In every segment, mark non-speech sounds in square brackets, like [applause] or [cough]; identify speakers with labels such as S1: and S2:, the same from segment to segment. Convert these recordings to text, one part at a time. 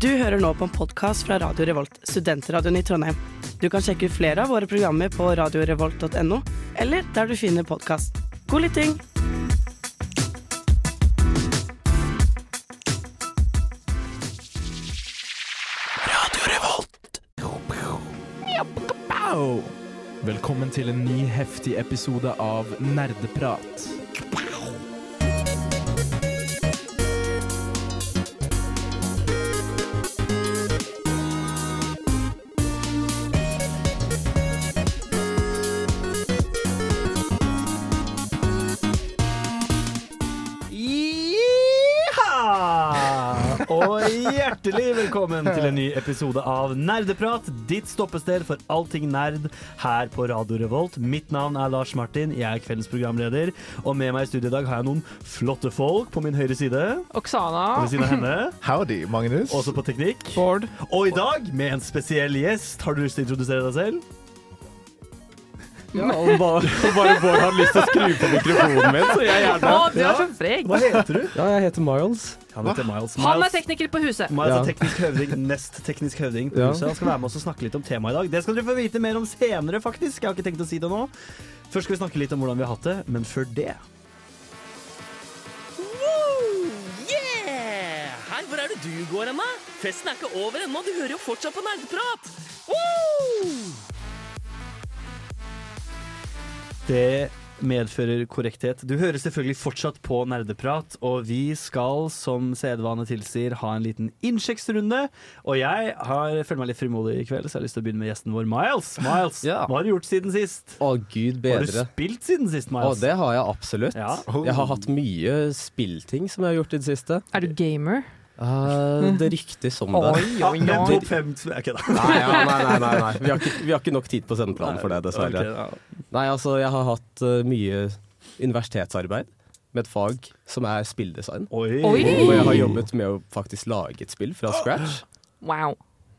S1: Du hører nå på en podkast fra Radio Revolt, studentradioen i Trondheim. Du kan sjekke ut flere av våre programmer på radiorevolt.no, eller der du finner podkast. God lytting!
S2: Au! Velkommen til en ny heftig episode av Nerdeprat.
S3: Jiha! Og hjertelig velkommen til en ny episode av Nerdeprat, ditt stoppested for allting nerd her på Radio Revolt. Mitt navn er Lars Martin, jeg er kveldens programleder, og med meg i studio i dag har jeg noen flotte folk på min høyre side, og ved
S4: Oksana.
S3: siden av henne,
S5: [laughs] Howdy, Magnus.
S3: også på teknikk.
S4: Bård.
S3: Og i dag med en spesiell gjest. Har du lyst til å introdusere deg selv?
S5: og bare, og bare Bård hadde lyst til å skru på mikrofonen min, så jeg
S4: Å, du er så frek!
S3: Hva heter du?
S6: Ja, jeg heter Miles.
S3: Han heter Miles.
S4: Han er
S3: Miles-
S4: tekniker på huset.
S3: Miles
S6: Ja.
S3: er teknisk høvding, nest teknisk høvding på
S6: Ja.
S3: huset. Han skal være med oss og snakke litt om temaet i dag. Det skal dere få vite mer om senere, faktisk. Jeg har ikke tenkt å si det nå. Først skal vi snakke litt om hvordan vi har hatt det, men før det
S7: Yeah! Hei, hvor er det du går hen, da? Festen er ikke over ennå, du hører jo fortsatt på nerdeprat!
S3: Det medfører korrekthet. Du hører selvfølgelig fortsatt på Nerdeprat, og vi skal, som sedvane tilsier, ha en liten innsjekksrunde. Og jeg har føler meg litt frimodig i kveld, så jeg har lyst til å begynne med gjesten vår, Miles. Miles,
S6: Ja.
S3: Hva har du gjort siden sist?
S6: Å, gud
S3: Har du
S6: bedre.
S3: spilt siden sist,
S6: Å,
S3: Miles?
S6: det har jeg absolutt.
S3: Ja.
S6: Jeg har hatt mye spillting som jeg har gjort i det siste.
S4: Er du gamer?
S6: Eh, det ryktes om det.
S4: Oi, oi,
S3: Men
S4: oi.
S3: topp fem [laughs] Jeg kødder.
S6: [laughs] Nei, ja, nei, nei, nei, nei. Vi, har ikke, vi har ikke nok tid på sendeplanen for det, dessverre.
S3: Ok, ja.
S6: Nei, altså, jeg har hatt eh, mye universitetsarbeid med et fag som er spilldesign.
S3: Oi.
S4: Oi.
S6: Og jeg har jobbet med å faktisk lage et spill fra scratch.
S4: Wow.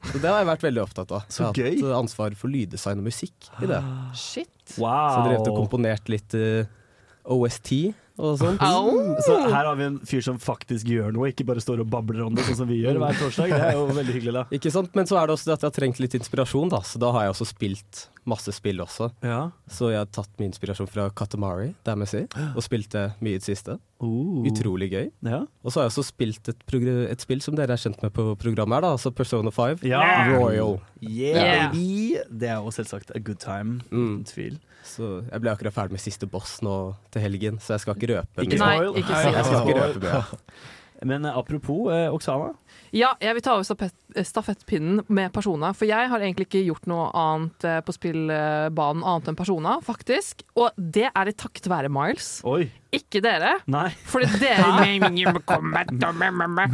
S6: Så det har jeg vært veldig opptatt av. Jeg
S3: Så
S6: har hatt
S3: gøy.
S6: eh, ansvar for lyddesign og musikk i det.
S4: Shit.
S6: Så jeg drev og
S3: Wow.
S6: komponert litt eh, OST og sånt.
S4: Au!
S3: Så her har vi en fyr som faktisk gjør noe, ikke bare står og babler om det, sånn som vi gjør hver torsdag. Det er jo veldig hyggelig, da.
S6: Ikke sant? Men så er det også det at jeg har trengt litt inspirasjon, da. Så da har jeg også spilt masse spill også.
S3: Ja.
S6: Så jeg har tatt min inspirasjon fra Katamari, Damacy, og spilt det mye i det siste.
S4: Oh.
S6: Utrolig gøy.
S3: Oh. Ja.
S6: Og så har jeg også spilt et, progr- et spill som dere er kjent med på programmet her, da, altså Persona 5. Royal.
S3: Yeah, baby. Det er jo selvsagt a good time. Uten
S6: Mm.
S3: tvil.
S6: Så jeg ble akkurat ferdig med siste boss nå til helgen, så jeg skal ikke røpe
S3: Ikke
S6: mye.
S4: Nei,
S3: spoil.
S4: ikke
S6: Jeg skal ikke røpe
S3: [laughs]
S6: mye.
S3: Men eh, apropos eh, Oksana.
S4: Ja, jeg vil ta over stafett, stafettpinnen med Persona. For jeg har egentlig ikke gjort noe annet eh, på spillbanen annet enn Persona, faktisk. Og det er i takket være Miles,
S3: Oi.
S4: ikke dere.
S3: Nei.
S4: Fordi dere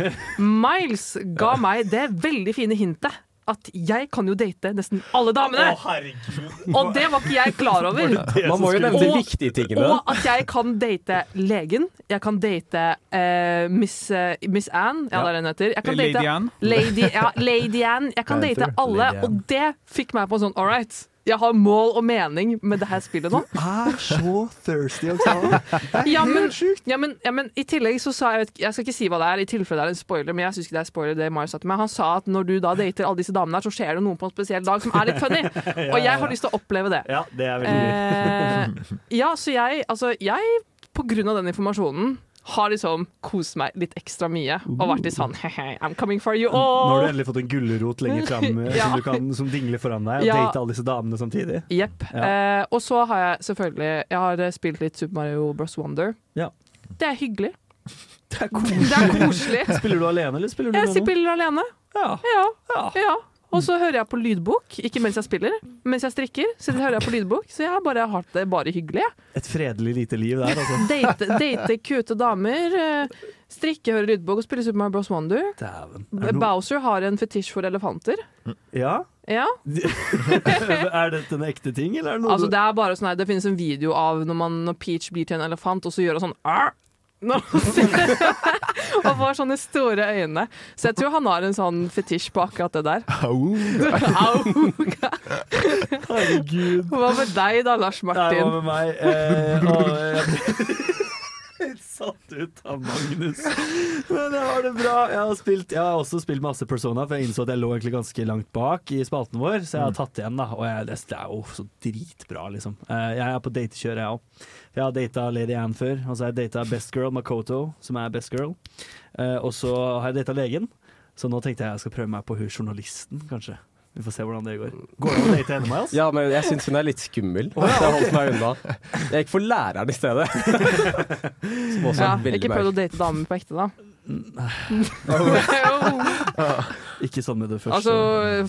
S4: Miles ga meg det veldig fine hintet at jeg kan jo date nesten alle damene.
S3: herregud.
S4: Og det var ikke jeg klar over.
S6: Man må jo nevne de
S4: Og-
S6: viktige tingene.
S4: Og at jeg kan date legen. Jeg kan date eh, Miss, eh, Miss Anne. Ja, det er det hun heter. Jeg kan
S2: Lady
S4: date
S2: Anne.
S4: Lady, ja, Lady Anne. Jeg kan
S6: Ja, jeg
S4: date
S6: tror det.
S4: alle,
S6: Lady
S4: og
S6: Anne.
S4: det fikk meg på en sånn all right. Jeg har mål og mening med det her spillet nå.
S3: Er så thirsty, [laughs] Oksana.
S4: Ja, men, ja, men, ja, men i tillegg så sa jeg vet, ikke- Jeg skal ikke si hva det er, i tilfelle det er en spoiler, men jeg syns ikke det er spoiler, det Marius sa til meg. Han sa at når du da dater alle disse damene her, så skjer det noe på en spesiell dag som er litt funny. Og jeg har lyst til å oppleve det.
S3: Ja, det er veldig gøy.
S4: Eh, ja, så jeg, altså, jeg på grunn av den informasjonen har liksom kost meg litt ekstra mye og vært litt sånn I'm coming for you
S3: Nå har du
S4: all.
S3: endelig fått en gulrot lenger fram eh,
S4: [laughs] Ja.
S3: som, du kan- som dingler foran deg, og
S4: Ja.
S3: date alle disse damene samtidig.
S4: Jepp. Eh, og så har jeg selvfølgelig Jeg har eh, spilt litt Super Mario Bros. Wonder.
S3: Ja.
S4: Det er hyggelig.
S3: Det er
S4: Det
S3: [laughs]
S4: er koselig.
S3: Spiller du alene, eller spiller du
S4: Jeg
S3: med noen?
S4: spiller alene.
S3: Ja.
S4: Ja.
S3: Ja.
S4: ja. Og så hører jeg på lydbok, ikke mens jeg spiller, mens jeg strikker. Så hører jeg på lydbok, så jeg har bare hatt det bare hyggelig. jeg.
S3: Et fredelig lite liv der, altså.
S4: Date, date kute damer, eh, strikke, høre lydbok og spille Super Mario Bros. Wonder.
S3: Dæven. Er det noe-
S4: Eh, Bowser har en fetisj for elefanter.
S3: Ja? [laughs]
S4: Ja,
S3: er dette en ekte ting, eller er det noe
S4: altså
S3: du-
S4: Det er bare sånn her, det finnes en video av når, man, når Peach blir til en elefant, og så gjør hun sånn Arr! [laughs] Når hun ser- og får sånne store øyne. Så jeg tror han har en sånn fetisj på akkurat det der. [laughs] Au!
S3: Herregud.
S4: Hva med deg da, Lars
S3: Nei, hva
S4: Martin?
S3: eh, med meg? Eh, å, jeg- satt ut av Magnus. Men jeg har det bra. Jeg har, spilt, jeg har også spilt masse Persona, for jeg innså at jeg lå egentlig ganske langt bak i spalten vår, så jeg har tatt igjen, da. Og jeg, det er jo så dritbra, liksom. Eh, Jeg er på datekjør, jeg òg. Jeg har data Lady Anne før, og så har jeg data Best Girl Makoto, som er Best Girl. Eh, Og så har jeg data legen, så nå tenkte jeg jeg skal prøve meg på hun journalisten, kanskje. Vi får se hvordan det går. Går det an å date henne, Miles?
S6: Ja, men jeg syns hun er litt skummel. Så jeg holdt meg unna. Jeg gikk for læreren i stedet.
S4: [laughs]
S6: Som også
S4: Ja,
S6: er veldig
S4: ikke prøv å date damer på ekte, da. [laughs] Jo.
S3: Ikke sånn med det første.
S4: altså,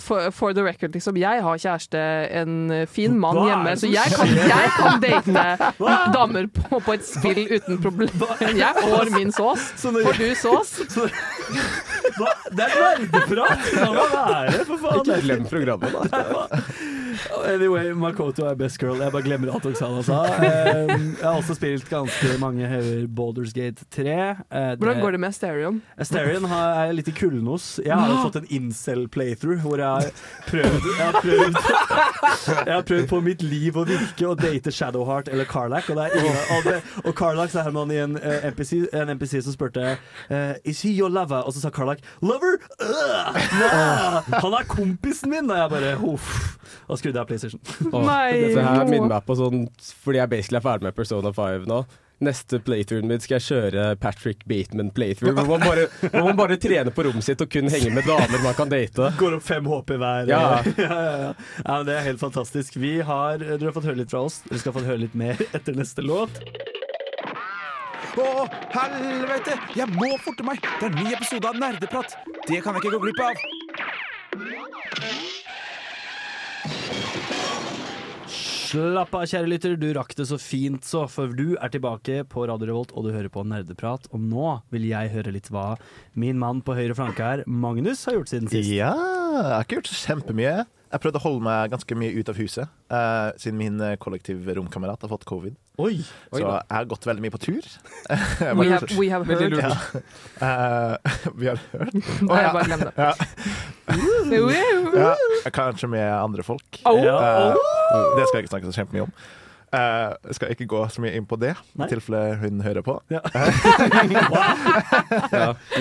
S4: for, for the record, liksom. Jeg har kjæreste, en fin mann
S3: Hva er
S4: hjemme,
S3: det
S4: så
S3: som
S4: jeg kan, jeg kan
S3: [laughs]
S4: date damer på, på et spill uten problem. [laughs] Jeg får min sås.
S3: [laughs] Så når-
S4: Får du sås?
S3: Hva? Det er nerdeprat! La meg være, for faen!
S6: Ikke glem programmet, [laughs] da.
S3: Anyway, Makoto er best girl. Jeg bare glemmer alt Oksana
S6: [laughs]
S3: sa. Eh, Jeg har også spilt ganske mange hauger Baldur's Gate Eh, 3.
S4: Hvordan går det med stereoen?
S3: Asterion har- er litt i kulden hos. Jeg har jo fått en incel-playthrough hvor jeg har prøvd Jeg har prøvd, jeg har prøvd på mitt liv å virke og date Shadowheart eller Carlac. Og, det er ingen, og, det, og Carlac så er man i en eh, NPC, en NPC som spurte eh, Is he your lover? Og så sa Carlac Lover? Øh, nei, han er kompisen min! Og jeg bare uff. Da skrudde jeg av PlayStation.
S6: Åh,
S4: Nei,
S6: Dette her
S4: nå.
S6: minner meg på sånn Fordi jeg basically er ferdig med Persona 5 nå. Neste playthroughen min skal jeg kjøre Patrick Bateman-playthrough. Hvor, man bare- hvor man bare trener på rommet sitt og kun henger med damer man kan date.
S3: Går opp fem HP hver.
S6: Ja.
S3: [laughs] ja, ja, ja. ja men Det er helt fantastisk. Vi har, dere har fått høre litt fra oss. Dere skal få høre litt mer etter neste låt.
S2: Å, helvete! Jeg må forte meg! Det er en ny episode av Nerdeprat! Det kan jeg ikke gå glipp av!
S3: Slapp av, kjære lytter. Du rakk det så fint, så. For du er tilbake på Radio Revolt, og du hører på Nerdeprat. Og nå vil jeg høre litt hva min mann på høyre flanke her, Magnus, har gjort siden sist.
S5: Ja, jeg har ikke gjort så kjempemye. Jeg prøvde å holde meg ganske mye ut av huset, eh, siden min eh, kollektiv romkamerat har fått covid.
S3: Oi!
S5: Så jeg har gått veldig mye på tur. [laughs] Jeg
S4: We
S5: har
S4: have, we have heard.
S5: Ja. [laughs] Eh, vi har hørt. Å,
S4: [laughs] Nei,
S5: ja.
S4: bare glem det.
S5: Ja.
S4: Wow.
S5: Ja, kanskje med andre folk.
S4: Au.
S3: Ja.
S5: Eh, det skal jeg ikke snakke så kjempemye om. Eh, jeg skal ikke gå så mye inn på det,
S3: Nei.
S5: i tilfelle hun hører på.
S6: Ja.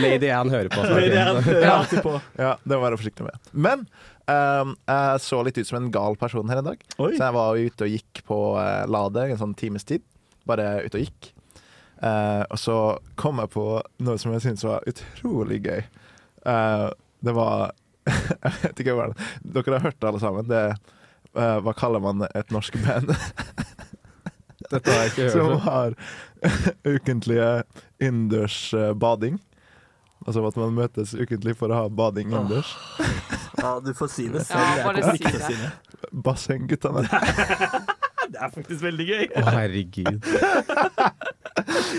S6: Lady Anne hører på.
S3: Det er det
S6: Altså.
S3: jeg hører alltid på.
S5: Ja, det må jeg være forsiktig med. Men eh, jeg så litt ut som en gal person her en dag.
S3: Oi.
S5: Så jeg var ute og gikk på eh, Lade i en sånn times tid. Bare ute og gikk. Eh, og så kom jeg på noe som jeg syntes var utrolig gøy. Eh, det var [laughs] Jeg vet ikke hva det Dere har hørt det, alle sammen. Det, eh, hva kaller man et norsk band
S6: Dette har jeg ikke hørt
S5: som
S6: før.
S5: har [laughs] ukentlige innendørs eh, bading? Altså at man møtes ukentlig for å ha bading innendørs.
S3: Ja, du får si [laughs] det
S4: selv. Ja, bare Jeg kommer si ikke til å det. si
S5: Bassengguttene.
S3: Det er faktisk veldig gøy.
S6: Å, herregud.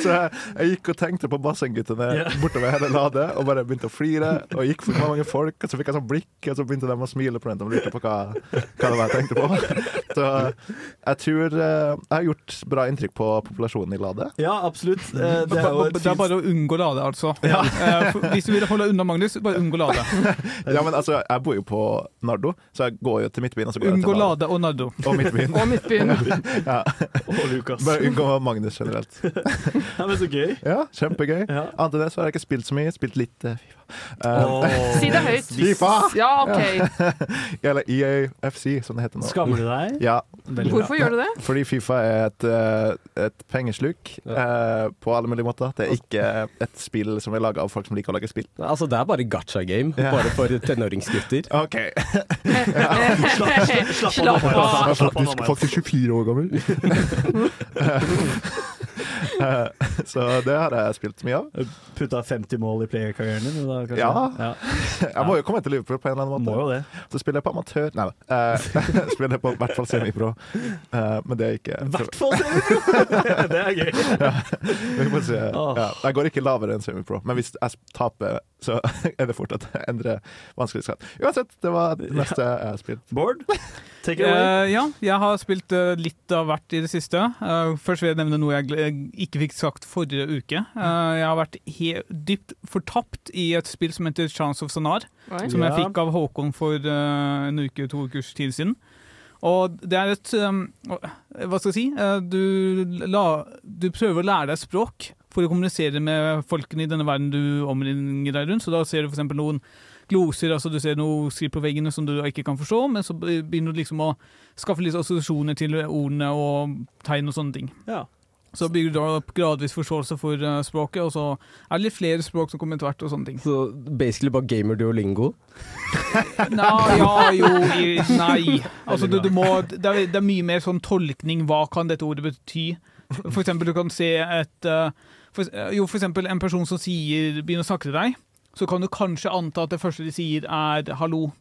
S5: Så jeg, jeg gikk og tenkte på bassengguttene
S3: Ja.
S5: bortover hele ladet, og bare begynte å flire. Og gikk forbi mange folk, og så fikk jeg sånn blikk, og så begynte de å smile på den. De lurte på hva, hva det var jeg tenkte på. Så jeg tror eh, jeg har gjort bra inntrykk på populasjonen i ladet.
S3: Ja, absolutt. Eh, Det er jo et
S8: Det er
S3: fint
S8: bare å unngå lade, altså. Eh, for- Hvis du vil holde unna Magnus, bare unngå lade.
S5: Ja, men altså, jeg bor jo på Nardo, så jeg går jo til Midtbyen, og så går jeg
S8: Unngå
S5: til Lade.
S8: lade og nardo.
S5: Og Midtbyen.
S4: Og Midtbyen.
S3: Å, Lukas.
S5: Bare unngå Magnus generelt.
S3: Ja, men så gøy.
S5: Ja, kjempegøy.
S3: Ja.
S5: Annet enn det så har jeg ikke spilt så mye. Spilt litt eh, Fifa. Eh,
S3: Åh.
S4: Si det høyt.
S5: Fifa!
S4: Ja, OK.
S5: Eller E EAFC, som det heter nå.
S3: Skammer du deg?
S5: Ja,
S3: Veldig bra.
S4: Hvorfor gjør du det?
S5: Fordi Fifa er et, eh, et pengesluk eh, på alle mulige måter. Det er ikke et spill som er laga av folk som liker å lage spill.
S6: Altså, det er bare gacha game.
S5: Ja.
S6: Bare for
S5: [laughs]
S6: tenåringsgutter.
S5: OK.
S3: [laughs]
S4: Slapp av.
S3: slapp av nå, Maja.
S5: 24 år gammel. [laughs] Så det har jeg spilt mye av.
S3: Putta 50 mål i playerkarrieren din? Da, kanskje?
S5: Ja.
S3: ja.
S5: Jeg må jo komme til Liverpool på en eller annen
S3: Må
S5: måte.
S3: jo det.
S5: Så spiller jeg på amatør Nei da. Eh, [laughs] spiller jeg på i hvert fall semipro. Eh, men det er ikke
S3: I hvert fall semifinale! [laughs] Det er gøy.
S5: Vi får
S3: Ah.
S5: se. ja, jeg går ikke lavere enn semipro, men hvis jeg taper, så [laughs] er det fort at jeg endrer vanskelighetsgrad. Uansett, det var det neste eh, jeg har spilt.
S3: Bård, take it away.
S8: Eh, ja, jeg har spilt eh, litt av hvert i det siste. Eh, først vil jeg nevne noe jeg gle- ikke fikk sagt forrige uke. Eh, jeg har vært he dypt fortapt i et spill som heter Chance of Sonar.
S4: Oi.
S8: Som jeg
S3: Ja.
S8: fikk av Håkon for eh, en uke, to ukers tid siden. Og det er eh, et um, Hva skal jeg si? Eh, du, la, du prøver å lære deg språk, for å kommunisere med folkene i denne verden du omringer deg rundt. Så da ser du f.eks. noen gloser, altså du ser noe skrift på veggene som du ikke kan forstå, men så begynner du liksom å skaffe litt assosiasjoner til ordene og tegn og sånne ting.
S3: Ja.
S8: Så bygger du opp gradvis forståelse for eh, språket, og så er det litt flere språk som kommer etter hvert og sånne ting.
S6: Så Altså, basically bare gamer duolingo.
S8: Nei, ja, jo, i- nei. Altså, du, du må, det, er, det er mye mer sånn tolkning. Hva kan dette ordet bety? For eksempel, du kan se et eh, for, eh, Jo, for eksempel en person som sier, begynner å snakke til deg, så kan du kanskje anta at det første de sier, er 'hallo'.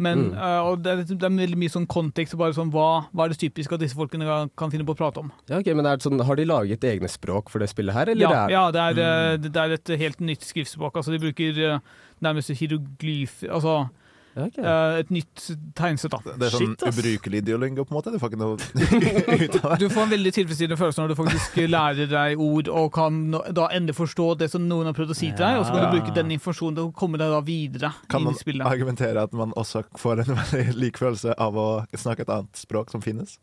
S8: Men
S6: Mm.
S8: eh, og det, er- det er veldig mye sånn kontekst. og Bare sånn, hva, hva er det typiske at disse folkene kan finne på å prate om?
S6: Ja, ok, men er det sånn, Har de laget egne språk for det spillet her, eller?
S8: Ja,
S6: er- Mm.
S8: ja det, er, eh, det det er et helt nytt skriftspråk. Altså, de bruker eh, nærmest hieroglyf... Altså
S6: Ja, ok.
S8: eh, et nytt tegnsett, da.
S5: Det er sånn
S3: Shit, ass.
S5: ubrukelig duolingo, på en måte. Du får ikke noe ut av det.
S8: Du får en veldig tilfredsstillende følelse når du faktisk lærer deg ord og kan nå- da endelig forstå det som noen har prøvd å si til deg, og så kan du
S3: Ja.
S8: bruke den informasjonen til å komme deg da videre
S5: Kan
S8: inn
S5: man
S8: i spillet.
S5: argumentere at man også får en [laughs] veldig lik følelse av å snakke et annet språk som finnes?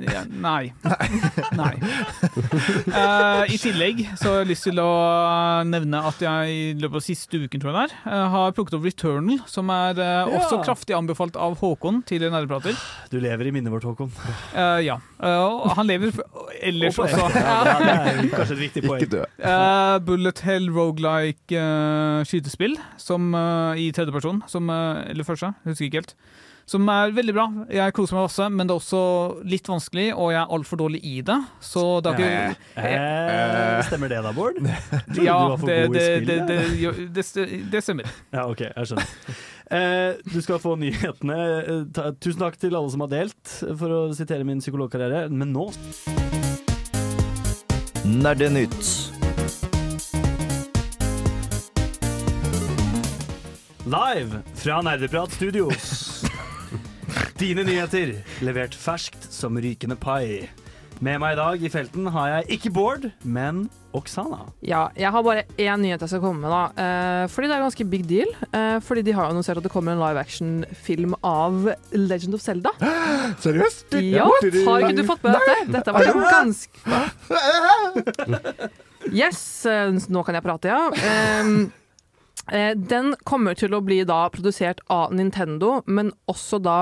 S8: Ja,
S5: [laughs]
S8: nei. nei. Eh, I tillegg så har jeg lyst til å nevne at jeg i løpet av siste uken tror jeg det er, eh, har plukket opp Returnal, som er eh, også
S3: Ja.
S8: kraftig anbefalt av Håkon, tidligere nærprater.
S3: Du lever i minnet vårt, Håkon.
S8: Eh, ja. Eh, og han lever f- ellers
S3: Og på
S8: [laughs] også.
S3: Ja, det er kanskje et viktig
S5: Ikke
S3: poeng.
S5: dø.
S8: Eh, bullet hell roguelike eh, skytespill som, eh, i tredjeperson, som, eh, eller første, husker ikke helt. Som er veldig bra. Jeg koser meg masse, men det er også litt vanskelig, og jeg er altfor dårlig i det. Så det er ikke
S3: Eh, stemmer det da,
S8: [laughs]
S3: Bård? Tror
S8: Ja,
S3: du var for
S8: det,
S3: god i
S8: det, det,
S3: spillet?
S8: det, jo, det, st- det stemmer.
S3: Ja, ok, jeg skjønner. Eh, du skal få nyhetene. Eh, ta, tusen takk til alle som har delt, eh, for å sitere min psykologkarriere. Men nå
S9: Nerdenytt.
S3: Live fra Nerdeprat
S8: [laughs]
S3: Studios. Dine nyheter, levert ferskt som rykende pai. Med meg i dag i felten har jeg ikke Bård, men Oksana.
S4: Ja, jeg har bare én nyhet jeg skal komme med, da. Eh, fordi det er ganske big deal. Eh, fordi de har jo annonsert at det kommer en live action-film av Legend of Zelda.
S5: Seriøst?
S4: Ja, har ikke du fått
S5: [laughs]
S4: med dette? Dette var jo ganske
S5: Oh,
S4: Yes, eh, nå kan jeg prate, ja. Ehm, eh, Den kommer til å bli da produsert av Nintendo, men også da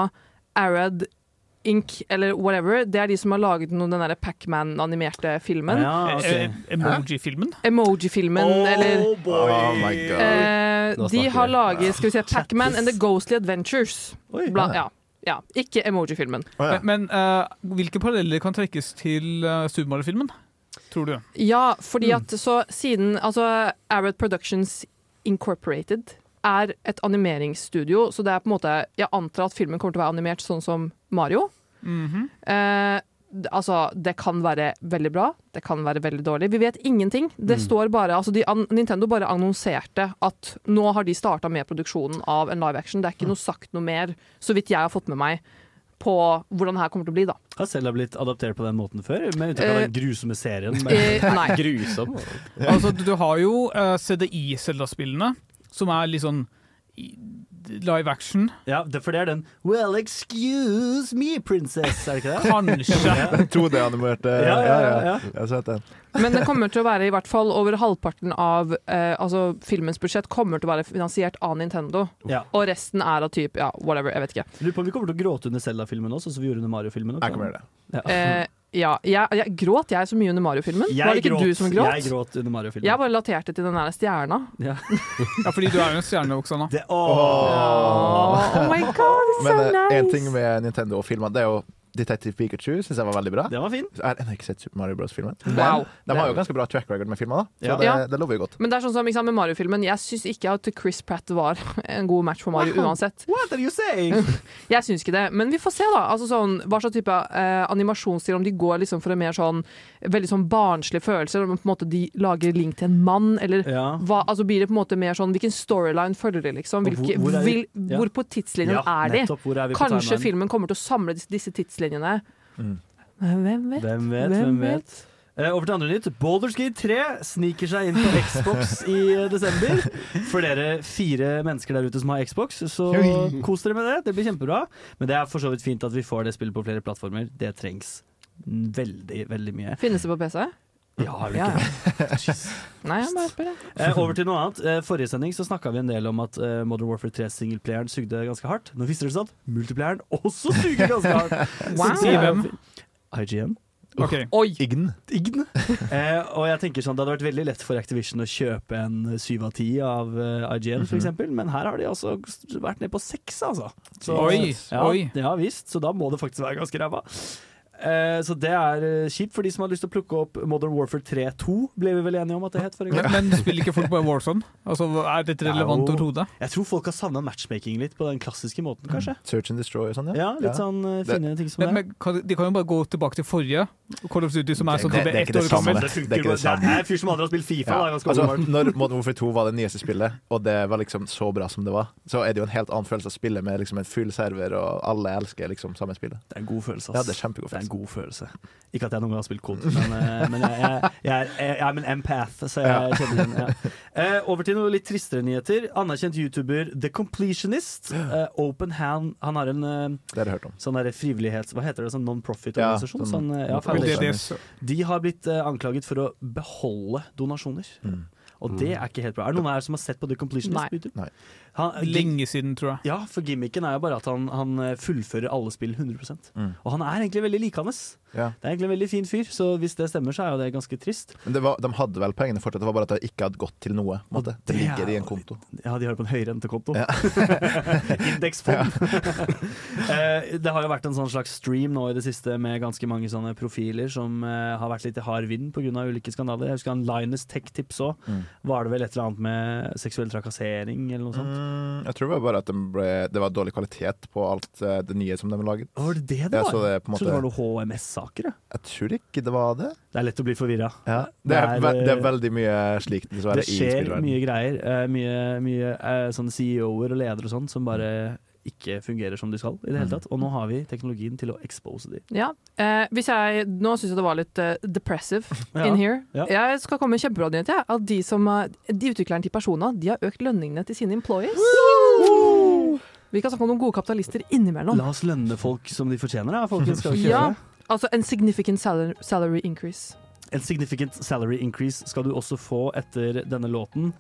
S4: Arad Inc. eller whatever. Det er de som har laget noen, den derre Pacman-animerte filmen.
S3: ja, altså,
S8: Eh, Emoji-filmen.
S4: Emoji-filmen, eller
S3: boy.
S5: Oh my god.
S4: Eh,
S6: Nå
S4: de
S6: snakker
S4: har
S6: vi.
S4: laget skal vi se, Pacman and the Ghostly Adventures.
S3: Oi.
S4: Bla, ja, ja. Ikke emoji-filmen.
S5: Å ja.
S8: Men eh, hvilke paralleller kan trekkes til uh, Super Mario-filmen? Tror du?
S4: Ja,
S6: Mm.
S4: fordi at så siden altså, Arad Productions Incorporated er et animeringsstudio, så det er på en måte Jeg antar at filmen kommer til å være animert sånn som Mario.
S5: [laughs]
S8: Mhm.
S4: Eh, d- altså, det kan være veldig bra, det kan være veldig dårlig. Vi vet ingenting. Det
S3: Mm.
S4: står bare Altså, de an Nintendo bare annonserte at nå har de starta med produksjonen av en live action. Det er ikke noe sagt noe mer, så vidt jeg har fått med meg, på hvordan det her kommer til
S3: [laughs]
S4: å bli, da.
S3: Har Selda blitt adaptert på den måten før? Med unntak av
S4: Eh.
S3: den grusomme serien. med-
S4: Eh, nei.
S6: Grusom.
S8: Altså, du har jo eh, CDI-Selda-spillene, som er litt sånn i- live action.
S3: Ja, det- for det er den Well, excuse me, princess, er det ikke det?
S8: Kanskje.
S5: Den 2D-animerte
S3: Ja, ja, ja, ja.
S5: Jeg har sett den.
S4: Men det kommer til å være i hvert fall over halvparten av eh, altså filmens budsjett kommer til å være finansiert av Nintendo.
S3: Ja.
S4: Og resten er av type ja, whatever, jeg vet ikke.
S3: Lurer på om vi kommer til å gråte under Selda-filmen også, sånn som vi gjorde under Mario-filmen. også. Mm.
S5: Jeg kommer til å gjøre det.
S3: Ah.
S4: Eh, ja, jeg, jeg, gråt jeg så mye under Mario-filmen?
S3: Jeg
S4: Var det ikke
S3: gråt.
S4: du som gråt?
S3: Jeg
S4: Jeg,
S3: gråt under Mario-filmen.
S4: bare laterte til den der stjerna.
S3: Ja.
S8: Ja, fordi du er jo en stjerne,
S5: [laughs]
S8: Oksana.
S3: Det, åh.
S4: Oh, my god, it's so
S5: Men eh,
S4: nice!
S5: en ting med Nintendo og filmer, det er jo Detective Pikachu syns jeg var veldig bra.
S3: det var fin.
S5: Jeg har ennå ikke sett Super Mario Bros.-filmen.
S4: Wow.
S5: De har jo ganske bra track record med filmer, da. så
S3: Ja.
S5: det,
S4: Ja.
S5: det lover jo godt.
S4: Men det er sånn som ikke sant, med Mario-filmen. Jeg syns ikke at Chris Pratt var [laughs] en god match for Mario
S3: Wow.
S4: uansett.
S3: What are you saying?
S4: Jeg syns ikke det, men vi får se, da. Altså sånn, hva slags type eh, animasjonsstil, om de går liksom for en mer sånn veldig sånn barnslig følelse, eller om på en måte de lager link til en mann, eller
S3: Ja.
S4: hva, altså blir det på en måte mer sånn Hvilken storyline følger de, liksom?
S3: Og hvor-
S4: Hvilke,
S3: hvor
S4: hvor,
S3: er vi-
S4: vil,
S3: Ja.
S4: hvor på tidslinjen Liksom, er de?
S3: nettopp. Hvor er vi på
S4: Kanskje
S3: timeline?
S4: filmen kommer til å samle disse, disse tidslinjene.
S5: Mm.
S4: Hvem vet?
S3: Hvem vet, hvem vet. Eh, over til andre nytt. Baldur's Gate 3 sniker seg inn på Xbox i eh, desember. For dere fire mennesker der ute som har Xbox, så kos dere med det. Det blir kjempebra. Men det er for så vidt fint at vi får det spillet på flere plattformer. Det trengs veldig, veldig mye.
S4: Finnes det på PC?
S3: Ja, har du
S4: Ja,
S3: ikke
S4: ja. Nei, jeg bare spør. jeg.
S3: Eh, over til noe annet. Eh, forrige sending så snakka vi en del om at eh, Modern Warfare 3-singelplayeren sugde ganske hardt. Nå viser det seg at multiplayeren også suger ganske
S8: [laughs]
S3: hardt.
S8: Si hvem.
S3: IGN.
S8: OK.
S4: Oi!
S5: Ign.
S3: Ign. Eh, og jeg tenker sånn, Det hadde vært veldig lett for Activision å kjøpe en 7 av 10 av eh, IGN, for eksempel men her har de altså vært ned på 6, altså.
S8: Oi,
S3: ja,
S8: oi.
S3: Ja visst, så da må det faktisk være ganske ræva. Eh, så det er eh, kjipt for de som har lyst til å plukke opp Modern Warfare 3-2, ble vi vel enige om at det het forrige gang?
S8: Men spiller ikke folk bare Warzone? Altså, Er dette relevant
S3: Jo.
S8: overhodet?
S3: Jeg tror folk har savna matchmaking litt på den klassiske måten, kanskje.
S5: Mm. Search and destroy og sånn, ja.
S3: Ja, litt sånn eh,
S5: Det-
S3: finne ting som
S8: Men,
S3: det.
S8: men kan- de kan jo bare gå tilbake til forrige Call of Duty, som er sånn
S5: Det-
S8: at det
S5: det er
S8: er
S5: ikke
S8: ett
S5: det
S8: år
S5: samme.
S8: gammelt.
S5: men det er ikke det samme.
S3: Det er en fyr som aldri har spilt Fifa.
S5: Ja.
S3: da, ganske
S5: Altså,
S3: åpenbart.
S5: når Modern Warfare 2 var det nyeste spillet, og det var liksom så bra som det var, så er det jo en helt annen følelse å spille med liksom en full server, og alle elsker liksom samme spillet.
S3: Det er en god følelse,
S5: Ja, det er
S3: ass.
S5: kjempegod
S3: Det er en
S5: følelse.
S3: god følelse.
S5: [laughs]
S3: Ikke at jeg noen gang har spilt kod, men, eh, men jeg, jeg, jeg, er, jeg er en empath, så jeg kjenner den. Ja.
S5: [laughs]
S3: Eh, over til noe litt tristere nyheter. Anerkjent youtuber The Completionist. eh, open Hand. Han har en eh,
S5: Det har jeg hørt om.
S3: sånn derre frivillighets... Hva heter det? Sånn
S5: Ja,
S3: non-profit-organisasjon?
S5: sånn-
S3: sånn, eh, ja,
S5: Faen,
S8: Og
S5: det er
S8: det er
S3: foundation.
S8: det
S5: skjønner
S3: De har blitt eh, anklaget for å beholde donasjoner.
S5: Mm.
S3: Og det er ikke helt bra. Er det noen her som har sett på The Completionist?
S4: Nei.
S3: på YouTube?
S5: Nei.
S3: Han,
S8: s- lenge siden, tror jeg.
S3: Ja, for gimmicken er jo bare at han, han eh, fullfører alle spill 100
S5: Mm.
S3: Og han er egentlig veldig likandes.
S5: Ja.
S3: Det er egentlig en veldig fin fyr, så hvis det stemmer, så er jo det ganske trist.
S5: Men det var, de hadde vel pengene fortsatt, det var bare at det ikke hadde gått til noe. på en Måte. Det
S3: det er
S5: ligger i
S3: jo
S5: en konto.
S3: Ja, de har på en høyrentekonto.
S5: Ja.
S3: [laughs] Indeksfond. [laughs] Eh, det har jo vært en sånn slags stream nå i det siste med ganske mange sånne profiler som eh, har vært litt i hard vind pga. ulike skandaler. Jeg husker han Linus Tech Tips òg.
S5: Mm.
S3: Var det vel et eller annet med seksuell trakassering eller noe sånt?
S5: Mm, jeg tror det var bare at de ble, det var dårlig kvalitet på alt eh, det nye som de laget.
S3: Var det det det
S5: Jeg,
S3: var?
S5: så det, på en
S3: Jeg trodde det var
S5: måte,
S3: noe HMS-saker. jeg.
S5: jeg tror ikke det var det.
S3: Det er lett å bli forvirra.
S5: Ja. Det,
S3: Det
S5: er,
S3: er,
S5: ve det er
S3: eh,
S5: veldig mye slikt, dessverre,
S3: Det
S5: i
S3: skjer
S5: spillverdenen.
S3: mye greier. eh, mye mye eh, sånne CEO-er og ledere og sånn som bare ikke fungerer som de skal i det
S5: Mm.
S3: hele tatt. Og nå har vi teknologien til å expose de.
S4: Ja. Eh, hvis jeg, nå syns jeg det var litt eh, depressive
S3: [laughs] Ja,
S4: in here.
S3: ja.
S4: Jeg skal komme med en kjempebra nyhet. jeg. At de, som, eh, de utviklerne til Persona de har økt lønningene til sine employees. Vi kan snakke om noen gode kapitalister innimellom.
S3: La oss lønne folk som de fortjener, da, folkens. Skal vi ikke
S4: Ja,
S3: gjøre det?
S4: altså en significant salar- salary increase.
S3: En significant salary increase skal du også få etter denne låten.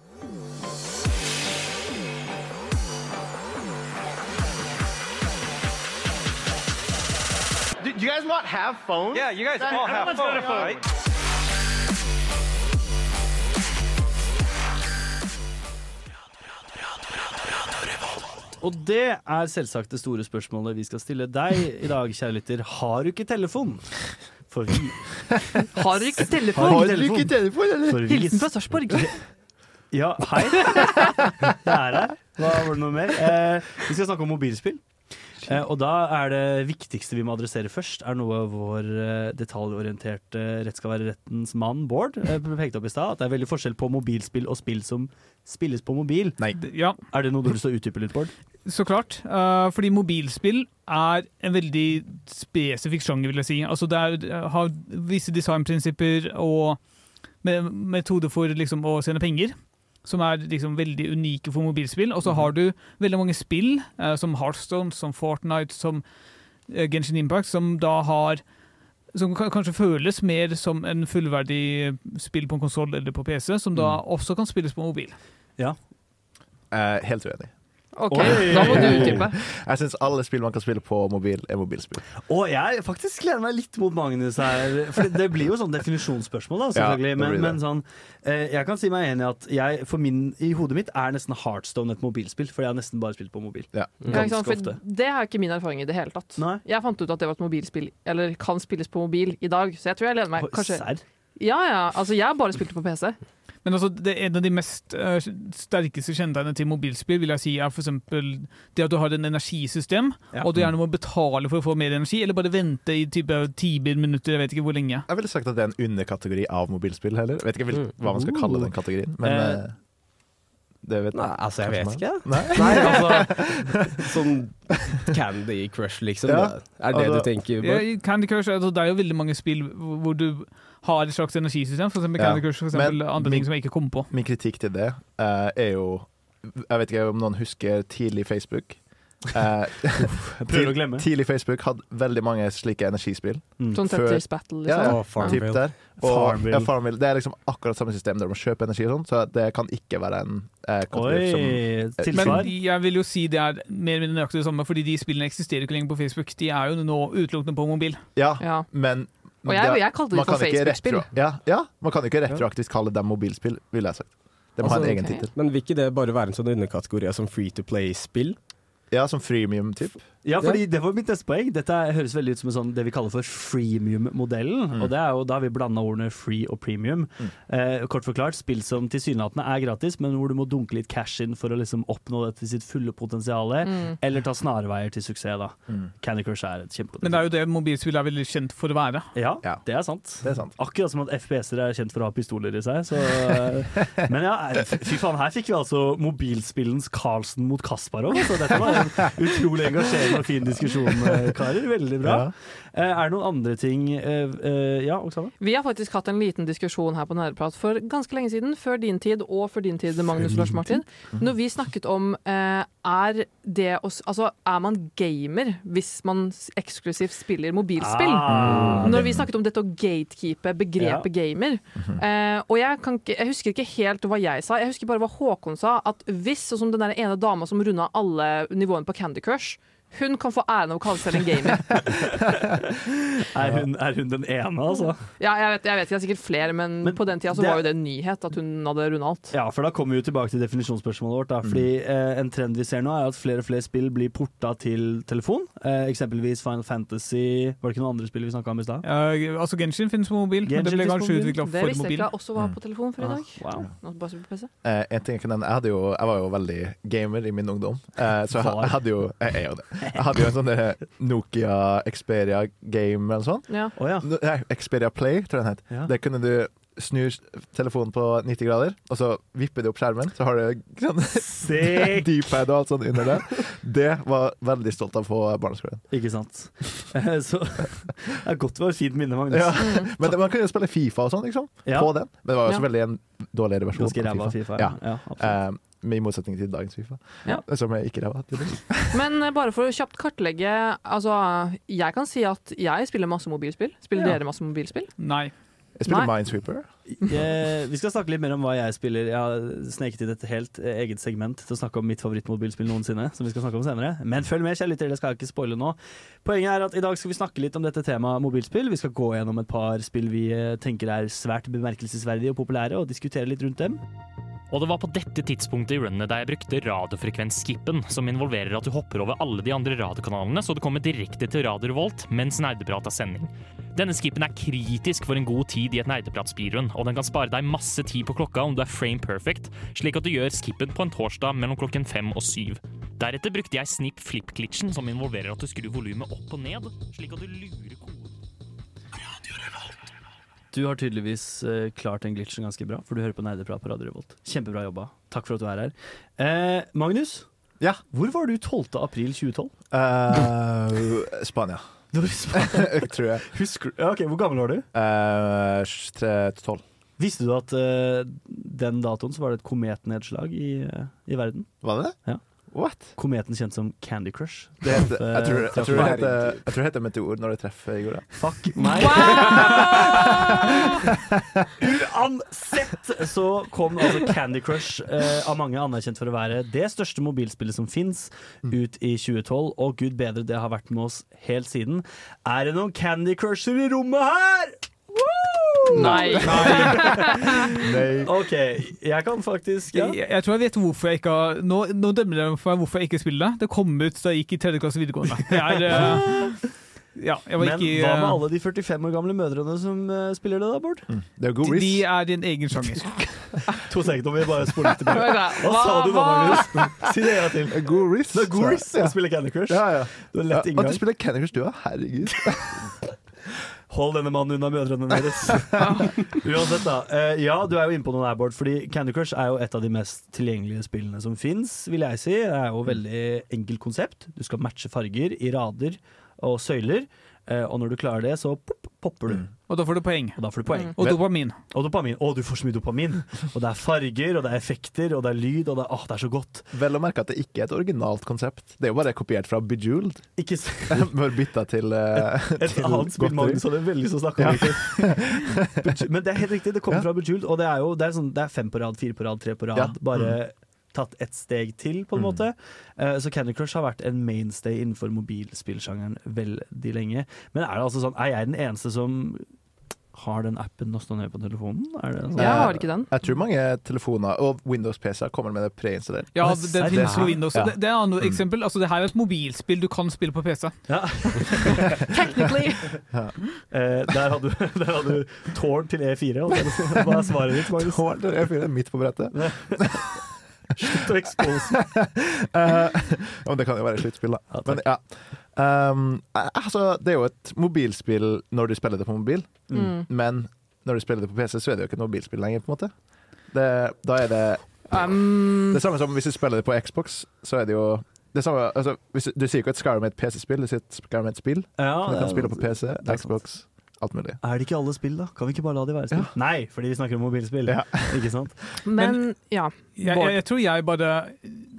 S9: Yeah, you guys all have fun, right?
S3: Og det er selvsagt det store spørsmålet vi skal stille deg i dag, kjære lytter. Har du ikke telefon? For vi
S4: Har dere ikke telefon?
S5: Har du ikke telefon, eller?
S3: for vi-
S4: Hilsen fra Sarpsborg.
S3: Ja, [laughs] hei. Jeg er her. Hva var det noe mer? Eh, vi skal snakke om mobilspill. Eh, og da er det viktigste vi må adressere først, er noe vår eh, detaljorienterte Rett skal være rettens mann, Bård, eh, pekte opp i stad. At det er veldig forskjell på mobilspill og spill som spilles på mobil.
S8: D- Ja,
S3: Er det noe du har lyst til å utdype litt, Bård?
S8: så klart. Eh, fordi mobilspill er en veldig spesifikk sjanger, vil jeg si. Altså, det er, har visse designprinsipper og me- metoder for liksom, å sende penger. Som er liksom veldig unike for mobilspill. Og så har du veldig mange spill, eh, som Heartstone, som Fortnite, som eh, Genshin Impact, som da har Som kan, kanskje føles mer som en fullverdig spill på en konsoll eller på PC, som da også kan spilles på mobil.
S5: Eh, helt uenig.
S4: Ok, da må du utdype.
S5: Jeg syns alle spill man kan spille på mobil, er mobilspill.
S3: Og jeg faktisk gleder meg litt mot Magnus her. For det blir jo sånn definisjonsspørsmål, da,
S5: Ja,
S3: selvfølgelig.
S5: det
S3: men,
S5: blir det.
S3: men sånn eh, Jeg kan si meg enig i at jeg, for min, i hodet mitt er nesten Heartstone et mobilspill, for jeg har nesten bare spilt på mobil.
S4: Ja,
S5: Ja.
S4: ikke sant?
S3: Ganske ofte.
S4: For det er ikke min erfaring i det hele tatt.
S3: Nei.
S4: Jeg fant ut at det var et mobilspill, eller kan spilles på mobil i dag, så jeg tror jeg leder meg. Kanskje.
S3: Serr?
S4: Ja, ja, altså jeg bare spilte på PC.
S8: Men altså, det en av de mest eh, sterkeste kjennetegnene til mobilspill vil jeg si er f.eks. det at du har en energisystem,
S3: Ja. Mm.
S8: og du gjerne må betale for å få mer energi, eller bare vente i type timer, minutter, jeg vet ikke hvor lenge.
S5: Jeg ville sagt at det er en underkategori av mobilspill heller. Jeg vet ikke hvil- hva man skal kalle den kategorien, men
S3: Mm. Eh,
S5: eh, det vet [laughs]
S6: Nei, altså, jeg vet
S5: kanskje
S6: ikke.
S5: man- Nei?
S6: Nei, altså Sånn Candy Crush, liksom.
S5: Ja,
S6: Er det
S5: altså-
S6: du tenker?
S8: Ja,
S6: Bård?
S8: Candy Crush, altså, Det er jo veldig mange spill hvor du har et slags energisystem, f.eks.
S5: Ja.
S8: Candy Crush, for eksempel,
S5: Men
S8: andre
S5: min-
S8: ting som jeg ikke kom på.
S5: Min kritikk til det eh, er jo Jeg vet ikke om noen husker tidlig Facebook.
S3: [laughs]
S5: Eh,
S3: Prøver å glemme.
S5: tidlig Facebook hadde veldig mange slike energispill.
S4: Sånn
S5: Før-
S4: Tetris Battle,
S5: Ja,
S4: liksom.
S5: ja.
S6: Å,
S5: Typ
S6: Farmville.
S5: der. Og,
S3: Farmville.
S5: ja, Farmville. Det er liksom akkurat samme system der du må kjøpe energi og sånn, så det kan ikke være en eh, kategori som
S3: Oi, tilsvar.
S8: Men jeg vil jo si det er mer eller mindre nøyaktig det samme, fordi de spillene eksisterer ikke lenger på Facebook. De er jo nå utelukkende på mobil.
S5: Ja,
S4: Ja.
S5: men
S4: Og jeg,
S5: det-
S4: jeg kalte det
S5: man
S4: for
S5: kan ikke
S4: Facebook-spill.
S5: retro- Ja, ja, man kan ikke retroaktivt kalle dem mobilspill, ville jeg sagt. De må ha en
S4: Altså,
S5: egen
S4: ok.
S5: tittel.
S6: Men vil ikke det bare være en sånn underkategori av som free to play-spill?
S5: Ja, som freemium typ
S3: Ja, fordi det var mitt neste poeng. Dette høres veldig ut som en sånn, det vi kaller for freemium-modellen. Og det er jo da har vi blanda ordene free og premium. Eh, kort forklart, spill som tilsynelatende er gratis, men hvor du må dunke litt cash inn for å liksom oppnå det til sitt fulle potensial,
S8: Mm.
S4: Mm.
S3: eller ta snarveier til suksess, da. Candy Crush er et
S8: Men det
S3: kjempepotensial.
S8: er jo det mobilspill er veldig kjent for å være.
S3: Ja,
S5: Ja.
S3: det er sant.
S5: Det er sant.
S3: Akkurat som at FPS-ere er kjent for å ha pistoler i seg. Så, eh, men ja, eh, fy faen, her fikk vi altså mobilspillens Carlsen mot Kasparov. Så dette var en utrolig engasjerende og fin diskusjon, eh, karer. Veldig bra. Eh, Er det noen andre ting eh, eh, Ja, Oksana?
S4: Vi har faktisk hatt en liten diskusjon her på Næreprat for ganske lenge siden, før din tid og før din tid, Magnus Lars Martin, Mm. når vi snakket om eh, er, det å s- altså, er man gamer hvis man s- eksklusivt spiller mobilspill?
S3: Ah,
S4: Når vi snakket om dette å gatekeepe begrepet gamer. Eh, og jeg, kan ikke, jeg husker ikke helt hva jeg sa, jeg husker bare hva Håkon sa. At hvis, sånn som den der ene dama som runda alle nivåene på Candy Crush, hun kan få æren av å kalle seg
S3: [laughs]
S4: en gamer.
S3: er, hun, er hun den ene, altså?
S4: Ja, jeg vet, jeg vet, det er sikkert flere, men,
S3: Men
S4: på den tida så
S3: det-
S4: var jo det en nyhet at hun hadde runda alt.
S3: Ja, for da kommer vi jo tilbake til definisjonsspørsmålet vårt. Da. Fordi eh, En trend vi ser nå, er at flere og flere spill blir porta til telefon. Eh, eksempelvis Final Fantasy. Var det ikke noen andre spill vi snakka om i stad?
S8: Eh, altså Genshin finnes på mobil, men det
S3: Genshin
S8: ble
S3: finnes på
S8: kanskje
S3: mobil.
S8: utvikla
S4: Det
S8: for
S4: visste jeg
S8: mobil.
S4: ikke jeg også var på telefon for i dag.
S3: Ah, wow.
S4: Nå bare se på PC.
S5: Eh, en ting jeg kan nevne, jeg, hadde jo, jeg var jo veldig gamer i min ungdom. Eh, så jeg, ha-
S3: Var.
S5: jeg hadde jo Jeg er jo det. Jeg hadde jo en sånn eh, Nokia Xperia Game eller sånn.
S4: Ja.
S3: Å ja.
S5: No- Nei, Xperia Play, tror jeg den het.
S3: Ja.
S5: Der kunne du snu s- telefonen på 90 grader, og så vipper du opp skjermen, så har du sånn
S3: [laughs] Sick!
S5: deepad og alt sånt under der. Det var jeg veldig stolt av på barneskolen.
S3: Ikke sant. Eh, Så det er godt det var et fint minne, Magnus.
S5: Ja.
S4: mm.
S5: Men det, man kunne jo spille Fifa og sånn, liksom.
S3: Ja.
S5: På den. Men det var jo
S4: Ja.
S5: selvfølgelig en dårligere versjon.
S3: Ganske ræva Fifa.
S5: Ja.
S3: Ja. Ja, absolutt.
S5: Eh, men I motsetning til dagens Fifa,
S4: Ja.
S5: som er ikke ræva. tydeligvis.
S4: Men eh, bare for å kjapt kartlegge Altså, jeg kan si at jeg spiller masse mobilspill. Spiller
S3: Ja.
S4: dere masse mobilspill?
S8: Nei.
S5: Jeg spiller
S4: Nei.
S5: Minesweeper.
S3: Eh, vi skal snakke litt mer om hva jeg spiller. Jeg har sneket inn et helt eh, eget segment til å snakke om mitt favorittmobilspill noensinne. Som vi skal snakke om senere Men følg med, kjære lyttere, det skal jeg ikke spoile nå. Poenget er at i dag skal vi snakke litt om dette temaet mobilspill. Vi skal gå gjennom et par spill vi eh, tenker er svært bemerkelsesverdige og populære, og diskutere litt rundt dem.
S10: Og det var på dette tidspunktet i runnet der jeg brukte radiofrekvensskippen, som involverer at du hopper over alle de andre radiokanalene, så du kommer direkte til Radio Revolt mens Nerdeprat er sending. Denne skippen er kritisk for en god tid i et nerdepratspirun, og den kan spare deg masse tid på klokka om du er frame perfect, slik at du gjør skippen på en torsdag mellom klokken fem og syv. Deretter brukte jeg snip flip-glitchen, som involverer at du skrur volumet opp og ned, slik at du lurer koden.
S3: Du har tydeligvis eh, klart den glitchen ganske bra, for du hører på Nerdeprat på Radio Revolt. Kjempebra jobba. Takk for at du er her. Eh, Magnus,
S5: Ja.
S3: hvor var du 12. april [laughs] 2012?
S5: Eh, Spania, [laughs] tror jeg.
S3: Husker du? Ok, Hvor gammel var du?
S5: Eh, tre til tolv.
S3: Visste du at eh, den datoen så var det et kometnedslag i, eh, i verden?
S5: Var det det?
S3: Ja.
S5: What?
S3: Kometen kjent som Candy Crush.
S5: Det heter, jeg, tror, jeg, tror det
S3: Herregud.
S5: heter, jeg tror det heter meteor når det treffer jorda.
S3: [laughs] Fuck meg! [laughs]
S4: Wow!
S3: Uansett så kom altså Candy Crush, eh, av mange anerkjent for å være det største mobilspillet som fins, ut i 2012. Og gud bedre, det har vært med oss helt siden. Er det noen Candy Crusher i rommet her? Woo! [laughs]
S4: Nei.
S5: Nei.
S3: OK, jeg kan faktisk ja.
S8: Jeg, jeg tror jeg vet hvorfor jeg ikke har Nå, nå dømmer dere meg for hvorfor jeg ikke spiller det. Det kom ut da jeg gikk i tredje klasse videregående. Jeg er, eh,
S3: [laughs]
S8: ja, jeg var
S3: Men
S8: ikke, eh,
S3: hva med alle de 45 år gamle mødrene som eh, spiller det, da, Bård?
S5: Det er god
S8: de,
S5: risk.
S8: de er i en egen sjanger.
S3: To sekunder, vi bare spoler tilbake. Hva
S4: Hva
S3: sa du nå, Magnus? Si det en gang til.
S5: Det er god risk.
S3: Det er god risk
S5: Ja.
S3: å spille Candy Crush.
S5: Ja, ja.
S3: Det er
S5: Ja,
S3: lett
S5: og du
S3: inngang.
S5: spiller Candy Crush, du òg? Herregud.
S3: Hold denne mannen unna mødrene deres. [laughs] Uansett, da. Eh, ja, du er jo inne på noen airbord, fordi Candy Crush er jo et av de mest tilgjengelige spillene som fins, vil jeg si. Det er jo veldig enkelt konsept. Du skal matche farger i rader og søyler. Eh, og når du klarer det, så pop, popper du.
S8: Og da får du poeng.
S3: Og da får du poeng.
S8: Mm. Og dopamin.
S3: Og dopamin. Å, du får så mye dopamin. Og det er farger, og det er effekter, og det er lyd, og det er, åh, det er så godt.
S5: Vel å merke at det ikke er et originalt konsept. Det er jo bare kopiert fra Bejeweled. [laughs]
S3: Ikke s-
S5: Bare bytta til eh,
S3: Et
S5: til
S3: annet spill
S5: godteri.
S3: Magnus hadde veldig lyst til å snakke om.
S5: [laughs]
S3: ikke? Beju- Men det er helt riktig, det kommer fra Bejeweled, og det er jo det er sånn, det er fem på rad, fire på rad, tre på rad.
S5: Ja. Mm.
S3: Bare tatt ett steg til, på en måte. Eh, Så Candy Crush har vært en mainstay innenfor mobilspillsjangeren veldig lenge. Men er det altså sånn, er jeg den eneste som har den appen nå stående på telefonen? Er det sånn?
S4: Jeg har ikke den.
S5: Jeg tror mange telefoner og Windows-PC-er kommer med det preinstallert.
S8: Ja,
S3: Nei,
S8: det, det
S3: seriøst? Mm.
S8: finnes på Windows.
S5: Ja.
S8: Det, det er et annet eksempel. Altså, det her er et mobilspill du kan spille på PC.
S4: Technically.
S3: Eh, der hadde du, [laughs] der hadde du tårn til E4. og det- Hva er svaret ditt, Magnus?
S5: [laughs] Tårn til E4 midt på brettet.
S3: [laughs] Slutt å
S5: [laughs]
S3: expose.
S5: Eh, ja, men det kan jo være sluttspill, da.
S3: Ja, takk.
S5: men, ja. Ehm, eh, altså, det er jo et mobilspill når du spiller det på mobil,
S4: Mm.
S5: men når du spiller det på PC, så er det jo ikke et mobilspill lenger. på en måte det, Da er det
S4: Um,
S5: det samme som hvis du spiller det på Xbox, så er det jo det samme, altså, hvis, du- Du sier jo ikke at Skyrim er et PC-spill, du sier at Skyrim er et spill.
S3: Ja,
S5: Du kan spille på
S3: Ah, er
S5: PC,
S3: er sant.
S5: Xbox, alt mulig.
S3: det ikke alle spill, da? Kan vi ikke bare la de være spill? Nei, fordi vi snakker om mobilspill.
S5: Ja.
S3: Ikke sant? [laughs]
S4: men ja.
S8: Jeg, jeg, jeg tror jeg bare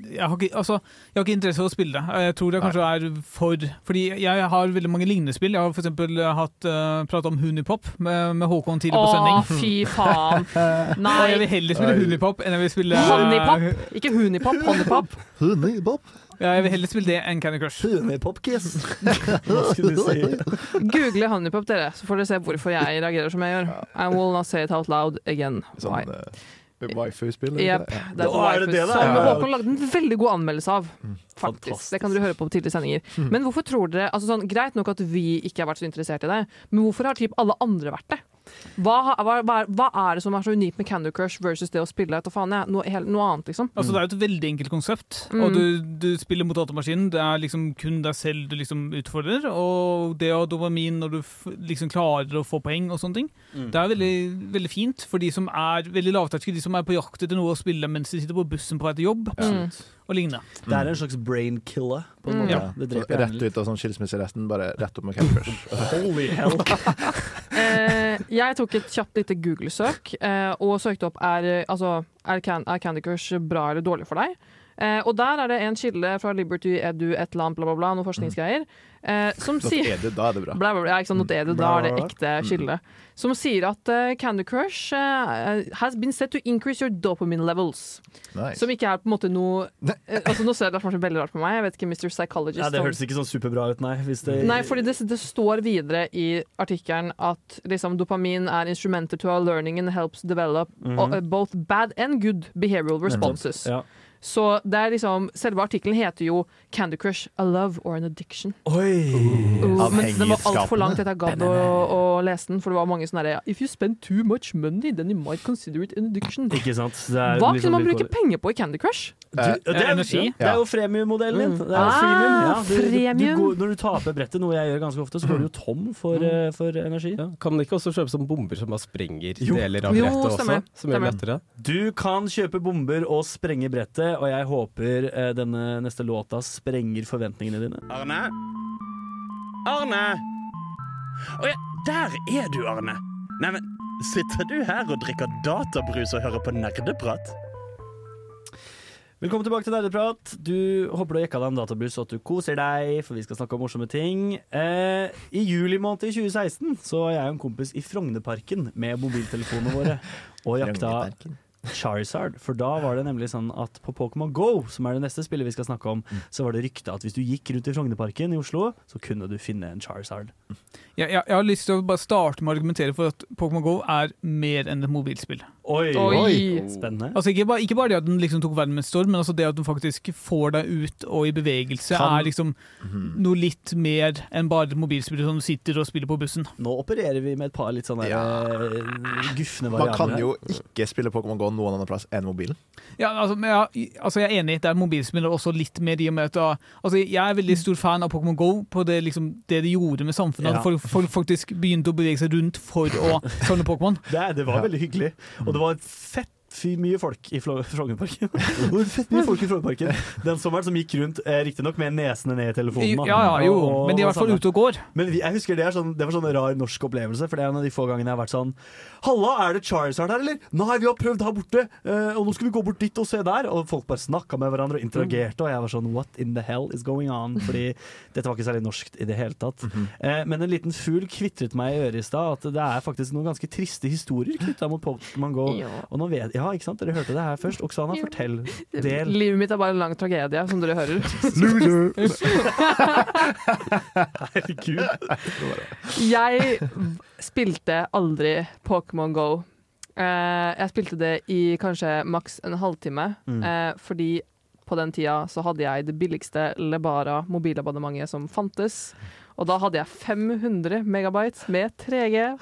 S8: jeg har, ikke, altså, jeg har ikke interesse for å spille det. Jeg tror det kanskje er for Fordi jeg har veldig mange lignende spill. Jeg har f.eks. hatt uh, prata om Hunipop med, med Håkon tidlig
S4: Å,
S8: på sending.
S4: fy faen.
S8: Og jeg
S4: Nei.
S8: vil heller spille Hunipop enn jeg vil spille
S4: Honeypop. Ikke hunipop, honeypop.
S5: Honey, Bob.
S8: Ja, jeg vil heller spille det enn Candy Crush.
S3: Hunepopkiss! [laughs] Hva skulle du si?
S4: Google honeypop, dere, så får dere se hvorfor jeg reagerer som jeg gjør. I will not say it out loud again. Why?
S5: Sånn uh, Wifi-spill. er det ikke
S4: Yep,
S5: det? Ja.
S4: det er på
S3: Da er det det
S4: Wifus,
S3: det er.
S4: Som
S5: Ja.
S4: Håkon lagde en veldig god anmeldelse av. Faktisk.
S3: Fantastisk. Mm.
S4: Det kan dere høre på på tidligere sendinger. Men hvorfor tror dere altså sånn, Greit nok at vi ikke har vært så interessert i det, men hvorfor har typ alle andre vært det? Hva, har- hva, hva, er- hva er det som er så unikt med Candy Crush versus det å spille etter faen jeg, noe, helt- noe annet, liksom?
S8: Altså, det er jo et veldig enkelt konsept.
S4: Mm.
S8: Og du, du spiller mot datamaskinen. Det er liksom kun deg selv du liksom utfordrer. Og det å ha dopamin når du f liksom klarer å få poeng og sånne ting, det er veldig, veldig fint for de som er veldig lavterskel, de som er på jakt etter noe å spille mens de sitter på bussen på vei til jobb
S4: Mm.
S8: og lignende.
S3: [laughs] Det er en slags brain killer, på en
S4: Mm.
S3: måte.
S8: Ja.
S3: Det
S5: Så
S3: dreper hjernen
S5: Rett
S3: litt.
S5: ut av sånn skilsmisseresten, bare rett opp med Candy Crush.
S3: Holy [laughs] hell!
S4: Eh, jeg tok et kjapt lite Google-søk eh, og søkte opp er, eh, altså, er, can er Candy Crush bra eller dårlig for deg. Eh, og der er det en kilde fra Liberty Edu et eller annet, bla, bla, bla, noen forskningsgreier, eh, som
S5: Da
S4: sier
S5: er det, da er det bra.
S4: Bla, bla, bla. Ja, ikke sant, not edit, da er det ekte skille. Som sier at eh, Candy Crush eh, has been set to increase your dopamine levels.
S5: Nice.
S4: Som ikke er på en måte noe eh, altså, Nå ser det kanskje veldig rart på meg, jeg vet ikke Mr. Psychologist.
S3: Ja, det
S4: om-
S3: hørtes ikke sånn superbra ut, nei. Hvis det,
S4: Nei, fordi det, det står videre i artikkelen at liksom, dopamin er instrumenter to our learning and helps develop uh, both bad and good behavioral responses.
S3: Mhm. Ja.
S4: Så det er liksom, Selve artikkelen heter jo 'Candy Crush a love or an addiction'.
S3: Oi!
S4: Oh, men den var altfor langt etter jeg gadd å, å lese den, for det var mange sånne derre If you spend too much money, then you might consider it an addiction.
S3: Ikke sant? Det er
S4: Hva
S3: litt
S4: kunne
S3: sånn
S4: man bruke
S3: vilkårlig.
S4: penger på i Candy Crush?
S5: Eh,
S3: Du, det, er,
S8: energi?
S3: det er jo freemium-modellen din.
S4: Mm.
S3: Det er jo
S4: Ah,
S3: freemium. Ja, du, du,
S4: freemium. Mm.
S3: du går, når du taper brettet, noe jeg gjør ganske ofte, så går du jo tom for, eh, for energi.
S6: Ja, kan man ikke også kjøpe sånne bomber som bare sprenger
S3: Jo.
S6: deler av
S4: Jo,
S6: brettet også?
S4: stemmer.
S6: Som gjør det
S4: Stemmer.
S6: lettere?
S3: Du kan kjøpe bomber og sprenge brettet, og jeg håper eh, denne neste låta sprenger forventningene dine.
S9: Arne? Arne? Å ja, der er du, Arne. Neimen, sitter du her og drikker databrus og hører på nerdeprat?
S3: Velkommen tilbake til Nerdeprat. Du håper du har jekka deg en databuss og at du koser deg, for vi skal snakke om morsomme ting. Eh, I juli måned i 2016 så var jeg og en kompis i Frognerparken med mobiltelefonene våre og jakta Charizard. For da var det nemlig sånn at på Pokémon Go, som er det neste spillet vi skal snakke om, så var det rykte at hvis du gikk rundt i Frognerparken i Oslo, så kunne du finne en Charizard.
S8: Jeg, jeg, jeg har lyst til å bare starte med å argumentere for at Pokémon GO er mer enn et mobilspill.
S3: Oi!
S4: Oi.
S3: Spennende.
S8: Altså ikke bare, ikke bare det at den liksom tok verden med storm, men altså det at den faktisk får deg ut og i bevegelse,
S3: Kan- Mhm.
S8: er liksom noe litt mer enn bare et mobilspill som du sitter og spiller på bussen.
S3: Nå opererer vi med et par litt sånn der,
S5: Ja.
S3: eh, gufne
S5: Man
S3: variabler.
S5: kan jo ikke spille Pokémon GO noen annen plass enn mobilen.
S8: Ja, altså, men jeg, altså jeg er enig, det er mobilspill og også litt mer i og med at da- altså Jeg er
S3: Mm.
S8: veldig stor fan av Pokémon GO på det, liksom, det de gjorde med samfunnet.
S3: Ja.
S8: At folk,
S3: [laughs]
S8: folk faktisk begynte å bevege seg rundt for å samle Pokémon.
S3: Det, det var veldig hyggelig. Og det var fett fy mye folk i Flo- [laughs] Frognerparken. Det var fett mye folk i Frognerparken Den sommeren som gikk rundt, eh, riktignok med nesene ned i telefonen. da.
S8: Ja, ja, jo,
S3: Og-
S8: men de er i
S3: og
S8: hvert fall
S3: sånn.
S8: ute og går.
S3: Men vi, jeg husker det er sånn, det var sånn en rar norsk opplevelse, for det er en av de få gangene jeg har vært sånn Halla, er det Charizard her, eller? Nei, vi har prøvd her borte, eh, og nå skal vi gå bort dit og se der. Og folk bare snakka med hverandre og interagerte, og jeg var sånn What in the hell is going on?
S4: [laughs]
S3: Fordi dette var ikke særlig norsk i det hele tatt.
S4: Mhm.
S3: Eh, men en liten fugl kvitret meg i øret i stad at det er faktisk noen ganske triste historier knytta mot Pokémon Go.
S4: Ja.
S3: Og nå vet Ja, ikke sant? Dere hørte det her først. Oksana,
S4: Ja. [laughs]
S3: fortell. Del.
S4: Livet mitt er bare en lang tragedie, som dere hører.
S3: Herregud.
S4: Jeg spilte aldri Pokémon Go. Eh, jeg spilte det i kanskje maks en halvtime,
S3: Mm.
S4: eh, fordi på den tida så hadde jeg det billigste Lebara mobilabonnementet som fantes. Og da hadde jeg 500 megabyte med 3G,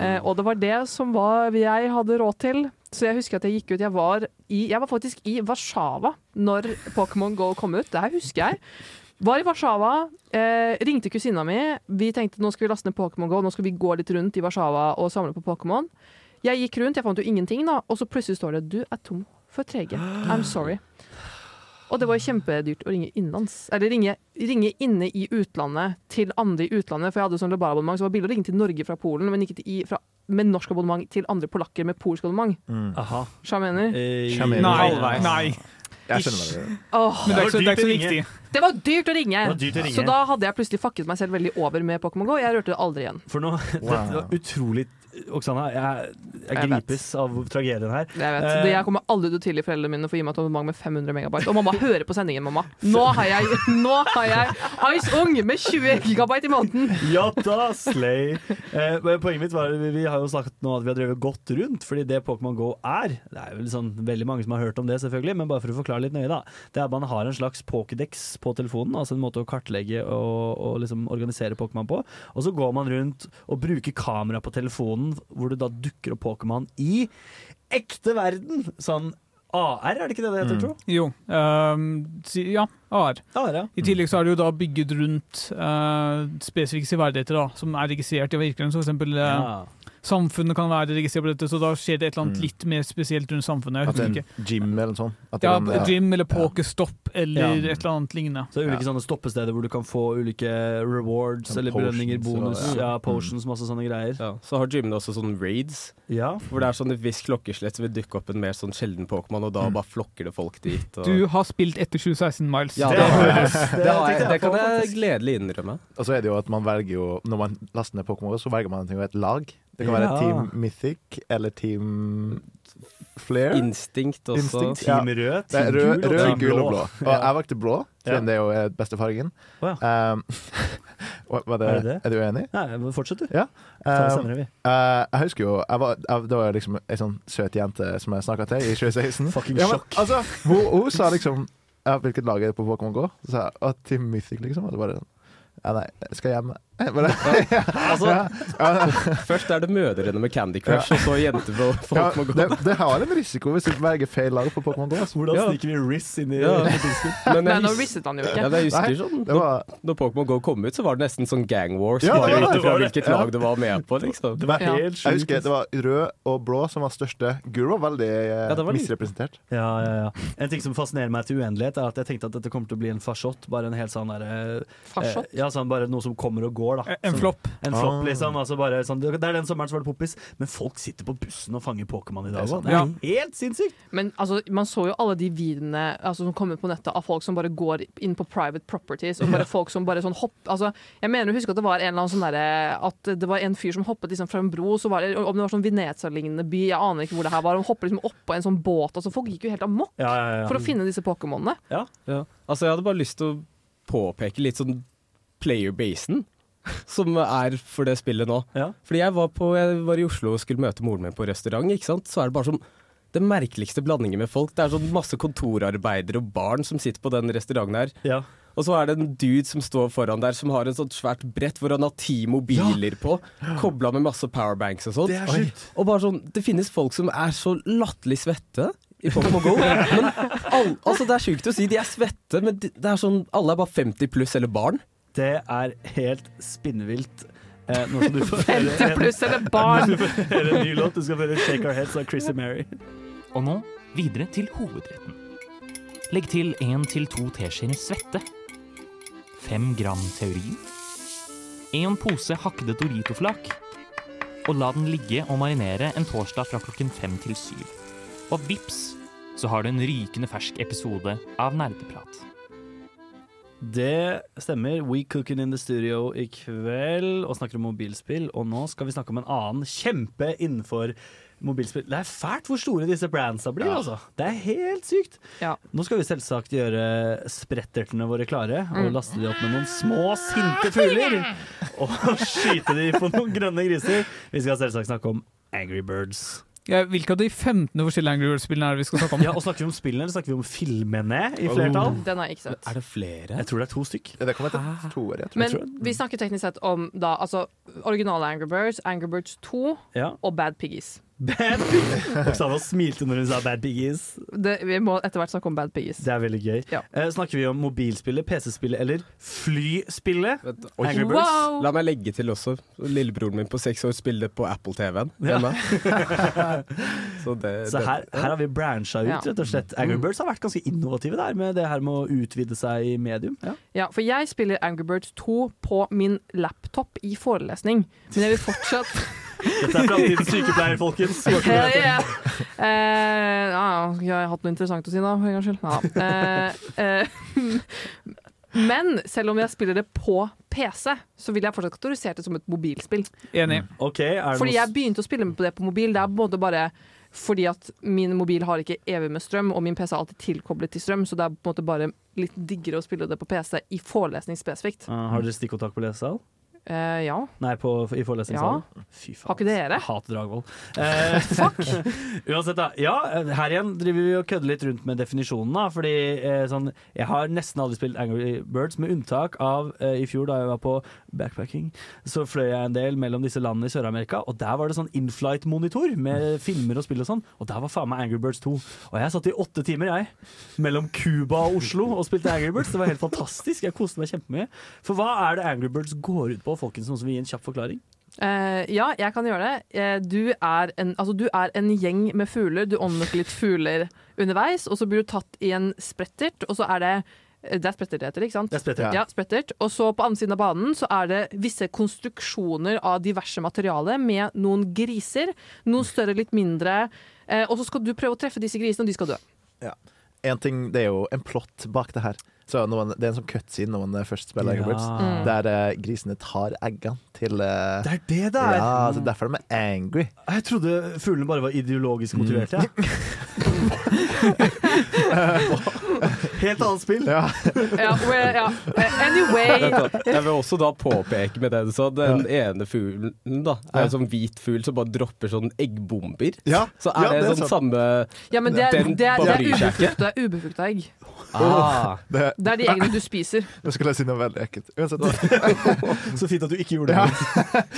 S4: eh, og det var det som var jeg hadde råd til. Så jeg husker at jeg gikk ut Jeg var, i, jeg var faktisk i Warszawa når Pokémon Go kom ut. Det her husker jeg. Var i Warszawa, eh, ringte kusina mi. Vi tenkte nå skal vi laste ned Pokémon Go, nå skal vi gå litt rundt i Warszawa og samle på Pokémon. Jeg gikk rundt, jeg fant jo ingenting, da, og så plutselig står det 'du er tom for 3G'. I'm sorry. Og det var jo kjempedyrt å ringe innenlands. Eller ringe, ringe inne i utlandet til andre i utlandet, for jeg hadde sånn Lebara-abonnement, så det var billig å ringe til Norge fra Polen, men ikke til, i- fra, med norsk abonnement til andre polakker med polsk abonnement.
S3: Aha.
S4: Skjønner du hva jeg mener?
S3: Eh,
S5: Sjarmerende.
S8: Nei,
S3: halvveis.
S8: nei.
S5: Jeg skjønner hva du
S3: [laughs]
S4: Åh,
S8: Men det er ikke så, det er ikke så
S3: Det var dypt å
S8: viktig.
S4: det var dyrt å ringe!
S3: Det var dyrt å ringe.
S4: Så da hadde jeg plutselig fucket meg selv veldig over med Pokémon Go. Jeg rørte det aldri igjen.
S3: For nå, dette var utrolig Oksana, jeg, jeg
S4: Jeg vet.
S3: gripes av tragedien her.
S4: Jeg vet,
S3: Eh,
S4: det Jeg kommer aldri til å tilgi foreldrene mine for å gi meg et abonnement med 500 megabyte. Og mamma hører på sendingen, mamma. Nå har jeg, nå har jeg Ice Ung med 20 gigabyte i måneden!
S3: Ja da, slay! Eh, men poenget mitt var vi, vi har jo snakket nå at vi har drevet godt rundt, fordi det Pokémon Go er Det er vel sånn veldig mange som har hørt om det, selvfølgelig, men bare for å forklare litt nøye, da. Det er at man har en slags Pokédex på telefonen, altså en måte å kartlegge og, og liksom organisere Pokémon på. Og så går man rundt og bruker kamera på telefonen, hvor det da dukker opp Pokémon i ekte verden! Sånn AR, er det ikke det det
S4: Mm.
S3: heter, tro?
S8: Jo. ehm, si- ja, AR.
S3: AR, ja.
S8: I tillegg så er det jo da bygget rundt eh, spesifikke severdigheter da, som er registrert i virkeligheten. Så For eksempel eh,
S3: Ja.
S8: samfunnet kan være registrert på dette, så da skjer det et eller annet
S5: Mm.
S8: litt mer spesielt rundt samfunnet. Jeg
S5: At det
S8: husker
S5: er
S8: ikke.
S5: en gym eller noe sånt. At det
S8: Ja,
S5: er en- ja.
S8: gym eller pokerstopp eller
S3: Ja.
S8: et eller annet lignende.
S3: Så det er ulike sånne stoppesteder hvor du kan få ulike rewards
S5: Sånn
S3: eller
S5: potions
S3: belønninger, bonus,
S5: og-
S3: ja, Mm. potions, masse sånne greier.
S6: Ja, så har gymene også sånne raids,
S3: Ja.
S6: hvor det er sånn et visst klokkeslett så vil dukke opp en mer sånn sjelden Pokémon, og da bare flokker det folk dit. Og...
S8: Du har spilt etter 2016, Miles.
S6: ja, det,
S3: det
S6: har jeg.
S3: høres-
S6: Det, har jeg.
S3: tenkte
S6: det kan
S3: på,
S6: jeg
S3: faktisk.
S6: gledelig innrømme.
S5: eh, Og så er det jo at man velger jo Når man laster ned Pokémon, så velger man jo et lag. Det kan være
S3: Ja.
S5: Team Mythic eller Team Flair.
S6: Instinkt også.
S5: Instinkt.
S3: Team rød,
S5: Det er
S3: team
S5: rød,
S3: gul og
S5: rød
S3: team
S5: gul og blå. Og jeg valgte blå,
S3: Ja.
S5: siden det er jo er beste fargen.
S3: Å
S5: Um, [laughs] hva- var det,
S3: Er det det?
S5: er du uenig?
S3: Nei, men fortsett, du.
S5: Ja.
S3: Ta det
S5: Um,
S3: senere, vi.
S5: Eh, jeg husker jo jeg var, jeg, Det var liksom ei sånn søt jente som jeg snakka til i 2016.
S3: Fucking
S5: Ja, men,
S3: sjokk.
S5: altså, hun, hun sa liksom ja, 'Hvilket lag er det på Pokémon GO?' Så sa jeg at Team Mythic, liksom. Og så bare sånn ja, Nei, jeg skal hjem. Eh, Jeg Bare,
S6: Altså,
S5: ja, ja,
S6: først er det mødrene med Candy Crush, og så jenter på
S5: ja,
S6: folk må gå.
S5: det, det har en risiko hvis du velger feil lag på Pokémon GO. Altså.
S3: Hvordan
S6: Ja.
S3: sniker vi Riz inn i
S6: Ja.
S3: [laughs]
S6: Men
S4: Nei,
S6: jeg
S4: nå
S6: husker,
S4: risset han jo
S6: ja,
S4: ikke.
S6: men jeg husker
S5: Nei,
S6: sånn
S5: Det var,
S6: Når Pokémon GO kom ut, så var det nesten sånn gang wars,
S5: Ja, det
S6: bare
S5: var
S6: ut
S5: det, det
S6: ifra
S5: var det.
S6: hvilket
S5: Ja.
S6: lag det var med på, liksom.
S3: Det var
S4: Ja.
S3: helt
S5: jeg
S3: sjukt.
S5: husker det var rød og blå som var største. Gul var veldig eh,
S6: Ja, det var litt-
S5: misrepresentert.
S3: Ja, ja, ja. En ting som fascinerer meg til uendelighet, er at jeg tenkte at dette kommer til å bli en farsott. Bare en helt sånn derre
S4: Farsott.
S3: Ja, sånn bare noe som kommer og går, da.
S8: En
S3: Sånn-
S8: flopp.
S3: En flopp,
S5: Ah.
S3: liksom. Altså bare sånn, det er den sommeren som var det poppis. Men folk sitter på bussen og fanger Pokémon i dag
S5: Det er
S3: òg.
S5: sant.
S3: Det er helt sinnssykt!
S4: Men altså, man så jo alle de videoene altså, som kom ut på nettet av folk som bare går inn på private properties. Og bare folk som bare sånn hopp, altså, jeg mener å huske at det var en eller annen sånn derre At det var en fyr som hoppet liksom fra en bro, så var det, om det var sånn Venezia-lignende by, jeg aner ikke hvor det her var. Han hoppet liksom oppå en sånn båt. Altså, folk gikk jo helt amok
S3: Ja, ja, ja.
S4: for å finne disse pokémonene.
S6: Ja. Altså, jeg hadde bare lyst til å påpeke litt sånn player-basen som er for det spillet nå.
S3: Ja.
S6: Fordi jeg var, på, jeg var i Oslo og skulle møte moren min på restaurant, ikke sant? så er det bare sånn den merkeligste blandingen med folk. Det er sånn masse kontorarbeidere og barn som sitter på den restauranten her.
S3: Ja.
S6: Og så er det en dude som står foran der, som har en sånn svært brett hvor han har ti mobiler på, kobla med masse powerbanks og sånt.
S3: Det er sjukt.
S6: Og bare sånn, det finnes folk som er så latterlig svette i
S3: [laughs]
S6: Pokémon GO. Men all, altså det er sjukt å si, de er svette, men de, det er sånn, alle er bare 50 pluss eller barn.
S3: Det er helt spinnvilt. Eh, nå skal du få høre
S4: 50
S3: en,
S4: pluss eller
S3: nå
S4: barn!
S3: skal du få høre en ny låt. Du skal få høre 'Shake Our Heads' av Chrissy Mary.
S10: Og nå videre til hovedretten. Legg til 1-2 teskjeer svette, 5 gram teorin, en pose hakkede Dorito-flak, og la den ligge og marinere en torsdag fra klokken 5 til 7. Og vips, så har du en rykende fersk episode av Nerdeprat.
S3: Det stemmer. We cooking in the studio i kveld og snakker om mobilspill. Og nå skal vi snakke om en annen kjempe innenfor mobilspill. Det er fælt hvor store disse brandsa blir, altså. Det er helt sykt.
S4: Ja.
S3: Nå skal vi selvsagt gjøre sprettertene våre klare og
S4: Mm.
S3: laste de opp med noen små, sinte fugler. Og [laughs] skyte de på noen grønne griser. Vi skal selvsagt snakke om Angry Birds.
S8: Ja, hvilke av de 15 forskjellige Angry Birds-spillene er det vi skal snakke om?
S3: [laughs] Ja, og Snakker vi om spillene, eller snakker vi om filmene i flertall?
S4: Den har jeg ikke sett.
S3: Er det flere? Jeg tror det er to stykk.
S5: Ja, det kommer
S6: Ah.
S5: etter to år, jeg tror.
S4: Men vi snakker teknisk sett om da, altså, originale Angry Birds, Angry Birds 2
S3: [laughs] Ja.
S4: og Bad Piggies.
S3: Bad Piggies. Oksana smilte når hun sa Bad Piggies.
S4: Det, vi må etter hvert snakke om Bad Piggies.
S3: Det er veldig gøy.
S4: Ja.
S3: Eh, snakker vi om mobilspillet, PC-spillet eller flyspillet?
S6: Oi.
S3: Angry Birds.
S4: Wow!
S6: La meg legge til også. Lillebroren min på seks år spiller det på Apple-TV-en.
S3: Ja. [laughs]
S6: hjemme. Så det,
S3: Så
S6: det-
S3: her, her har vi brancha ut,
S4: Ja.
S3: rett og slett. Angry Birds har vært ganske innovative der med det her med å utvide seg i medium. Ja.
S4: Ja, for jeg spiller Angry Birds 2 på min laptop i forelesning, men jeg vil fortsatt
S3: Dette er framtidens sykepleier,
S4: [laughs]
S3: folkens.
S4: Hell yeah! Eh, ja, jeg har hatt noe interessant å si, da, for en gangs skyld. Ja. Eh, [laughs] eh, men selv om jeg spiller det på PC, så vil jeg fortsatt kategorisere det som et mobilspill.
S8: Enig.
S3: Ok, er det
S4: Fordi
S3: noe
S4: jeg begynte å spille med på det på mobil. Det er på en måte bare fordi at min mobil har ikke evig med strøm, og min PC er alltid tilkoblet til strøm, så det er på en måte bare litt diggere å spille det på PC i forelesning spesifikt.
S3: Eh, har dere stikkontakt på lesesal?
S4: Eh, ja.
S3: Nei, på, i forelesningssalen? Fy faen.
S4: Har ikke dere?
S3: Jeg hater Dragvoll. Eh, [laughs] Uansett, da. Ja, eh, her igjen driver vi og kødder litt rundt med definisjonen, da. Fordi eh, sånn Jeg har nesten aldri spilt Angry Birds, med unntak av eh, i fjor, da jeg var på backpacking. Så fløy jeg en del mellom disse landene i Sør-Amerika, og der var det sånn inflight-monitor med filmer og spill og sånn. Og der var faen meg Angry Birds 2. Og jeg satt i åtte timer, jeg, mellom Cuba og Oslo og spilte Angry Birds. Det var helt fantastisk. Jeg koste meg kjempemye. For hva er det Angry Birds går ut på, folkens? Noen som vil gi en kjapp forklaring?
S4: Eh, ja, jeg kan gjøre det. Eh, du, er en, altså, du er en gjeng med fugler. Du ånder litt fugler underveis, og så blir du tatt i en sprettert, og så er det eh, det er sprettert det heter, ikke sant?
S3: Det er sprettert.
S4: Ja, sprettert. Og så på andre siden av banen så er det visse konstruksjoner av diverse materiale med noen griser. Noen større, litt mindre. Eh, og så skal du prøve å treffe disse grisene, og de skal dø.
S5: En ting, Det er jo en plott bak det her. Så når man, Det er en sånn cutscene når man først spiller Angry Birds.
S10: Ah,
S4: Mm.
S5: Der eh, grisene tar eggene til eh,
S3: Det er det det er!
S5: Ja, altså, så Derfor er de angry.
S3: Jeg trodde fuglene bare var ideologisk motiverte. jeg. Helt annet spill.
S5: Ja.
S4: Ja, well, ja. Eh, Anyway.
S6: Vent da. Jeg vil også da påpeke med det du sa, den ene fuglen da er en sånn hvit fugl som bare dropper sånn eggbomber.
S5: Ja,
S6: Så er
S5: ja,
S6: det,
S5: det er
S6: sånn
S5: sant.
S6: samme
S4: Ja, men det er,
S6: Den
S4: det er, det er
S6: bryr seg ikke.
S4: ubefrukta- ubefrukta egg.
S5: Det,
S4: Det er de eggene du spiser.
S5: nå skulle jeg si noe veldig ekkelt. Uansett.
S3: Så fint at du ikke gjorde det.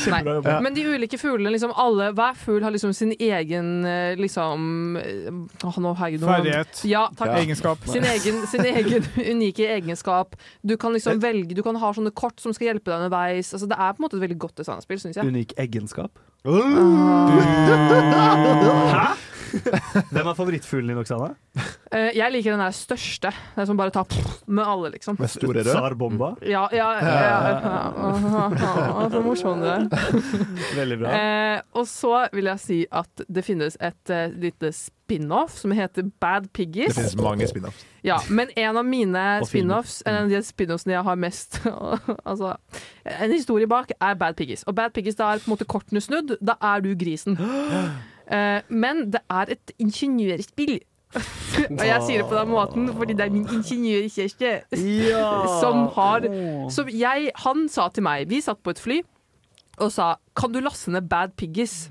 S3: Kjempebra jobba.
S4: Men de ulike fuglene, liksom alle, hver fugl har liksom sin egen eh, liksom eh, åh, nå, herregud, nå-
S8: Ferdighet.
S4: Ja, takk.
S8: Egenskap.
S4: Sin egen, sin egen unike egenskap. Du kan liksom velge, du kan ha sånne kort som skal hjelpe deg underveis. Altså, det er på en måte et veldig godt designspill, syns jeg.
S3: Unik egenskap.
S4: Ah. [laughs]
S3: Hæ? Hvem er favorittfuglen din, Oksana?
S4: Eh, Jeg liker den der største. Den som bare tar pff med alle, liksom.
S5: Med store rør.
S3: Tsar Bomba.
S4: Ja, ja, ja, [laughs] ja, ja. Så morsom du er.
S3: Mm. Veldig bra.
S4: Eh, og så vil jeg si at det finnes et eh, lite spin-off som heter Bad
S5: Det
S4: Piggies.
S5: finnes mange spin-offs.
S4: Ja, men en av mine
S3: Og Mm.
S4: spin-offs, en av de spin-offsene jeg har mest [laughs] altså, En historie bak er Bad Piggies. Og Bad Piggies, da er på en måte kortene snudd. Da er du
S3: [gasps]
S4: grisen. Eh, men det er et ingeniørspill. [laughs] og jeg sier det på den måten fordi det er min ingeniørkjæreste
S3: Ja.
S4: [laughs] som har Som jeg Han sa til meg Vi satt på et fly og sa 'Kan du laste ned Bad Piggies?'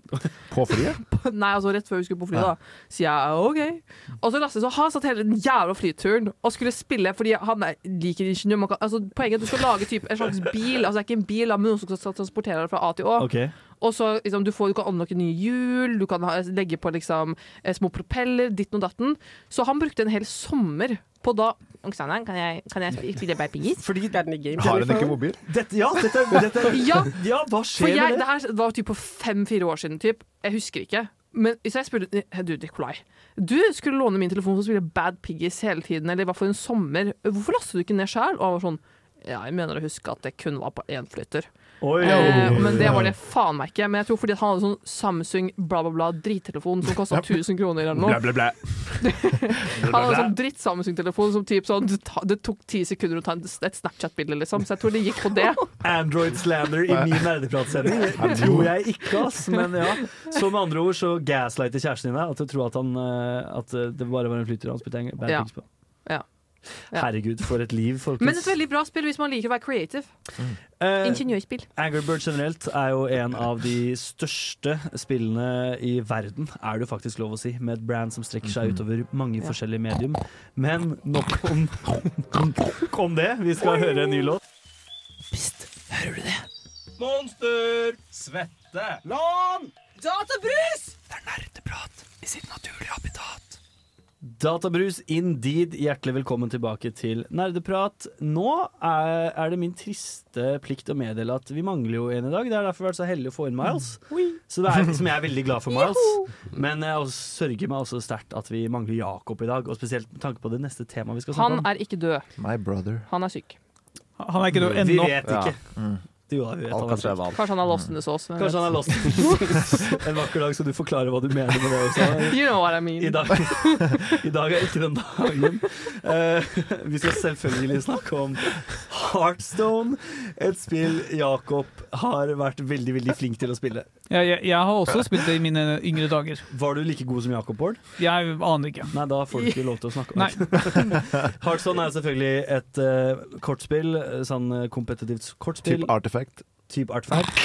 S5: På flyet?
S4: Nei, altså rett før vi skulle på flyet, da. Sier jeg OK. Og så Lasse, så han satt hele den jævla flyturen og skulle spille fordi han er, liker ingeniør. Man kan, altså, poenget er at du skal lage typ, en slags bil, altså det er ikke en bil, da, men noen som skal transportere deg fra A til Å.
S3: Ok.
S4: Og så liksom, du, får, du kan unlocke nye hjul, du kan ha, legge på liksom, eh, små propeller, ditten og datten. Så han brukte en hel sommer på da Oksana, kan jeg, kan jeg spi- spille Bad
S1: [laughs]
S4: Piggies?
S6: Fordi det er den i game.
S5: Har hun ikke mobil?
S3: Dette, ja, dette, er- dette, er-
S4: Ja,
S3: ja, hva
S4: for
S3: skjer
S4: jeg,
S3: med
S4: det
S3: det?
S4: her var typ på fem-fire år siden, typ. Jeg husker ikke. Men hvis jeg spurte «Hei, Du, Nikolai. Du skulle låne min telefon for å spille Bad Piggies hele tiden, eller i hvert fall en sommer. Hvorfor lastet du ikke ned sjæl? Og han var sånn ja, jeg mener å huske at det kun var på én flytter.
S3: Oi,
S4: Eh,
S3: oi,
S4: men det
S3: oi.
S4: var det faen meg ikke. Men jeg tror fordi at han hadde sånn Samsung bla, bla, bla drittelefon
S3: [laughs]
S4: som kosta 1000 kroner eller noe.
S9: Blæ, blæ, blæ.
S4: Han hadde sånn dritt Samsung-telefon som typ sånn det ta- Det tok ti sekunder å ta en- et Snapchat-bilde, liksom. Så jeg tror det gikk på det.
S3: Android slander i min nerdepratsending. Det tror jeg ikke, ass. Men ja. Så med andre ord så gaslighter kjæresten din deg. At du tror at, han, eh, at eh, det bare var en flytter han spytta en bad
S4: Ja.
S3: pings på.
S4: Ja. Ja.
S3: Herregud, for et liv,
S4: [laughs] Men et
S3: folkens.
S4: veldig bra spill hvis man liker å være creative.
S3: Eh,
S4: Ingeniørspill.
S3: Angry Bird generelt er jo en av de største spillene i verden, er det jo faktisk lov å si, med et brand som strekker seg utover mange forskjellige medium. Men nok om, [laughs] nok om det. Vi skal høre en ny låt.
S9: Monster. Svette. Lån.
S7: Databrus!
S3: Databrus, indeed. Hjertelig velkommen tilbake til Nerdeprat. Nå er, er det min triste plikt å meddele at vi mangler jo en i dag. Det er derfor vi har vært så heldige å få inn Miles. Så det er liksom jeg er veldig glad for Miles. Men jeg også sørger meg også sterkt at vi mangler Jakob i dag. Og spesielt med tanke på det neste temaet vi skal
S4: Han
S3: snakke om.
S4: er ikke død.
S5: My brother.
S4: Han er syk.
S8: Han er ikke død
S3: Vi
S8: ennå.
S3: vet ikke. Jo, da, vi vet
S6: Alt
S3: han
S6: kan
S3: er
S6: skje
S3: syk.
S6: med alt.
S4: Kanskje han er lost in the sauce. hvem
S3: Kanskje han er lost. [laughs] En vakker dag skal du forklare hva du mener med det også.
S4: vet. You know what
S3: [laughs]
S4: I
S3: I
S4: mean.
S3: dag, I dag [laughs] er ikke den dagen. Eh, [laughs] vi skal selvfølgelig snakke om Heartstone. Et spill Jakob har vært veldig veldig flink til å spille.
S8: Jeg, jeg, jeg har også spilt det i mine yngre dager.
S3: Var du like god som Jakob Bård?
S8: Jeg aner ikke.
S3: Nei, da får du ikke lov til å snakke om
S8: Nei.
S3: det. [laughs] Heartstone er selvfølgelig et eh, kortspill. eh, Sånn eh, kompetitivt kortspill.
S5: Typ artifact.
S3: Type artfact.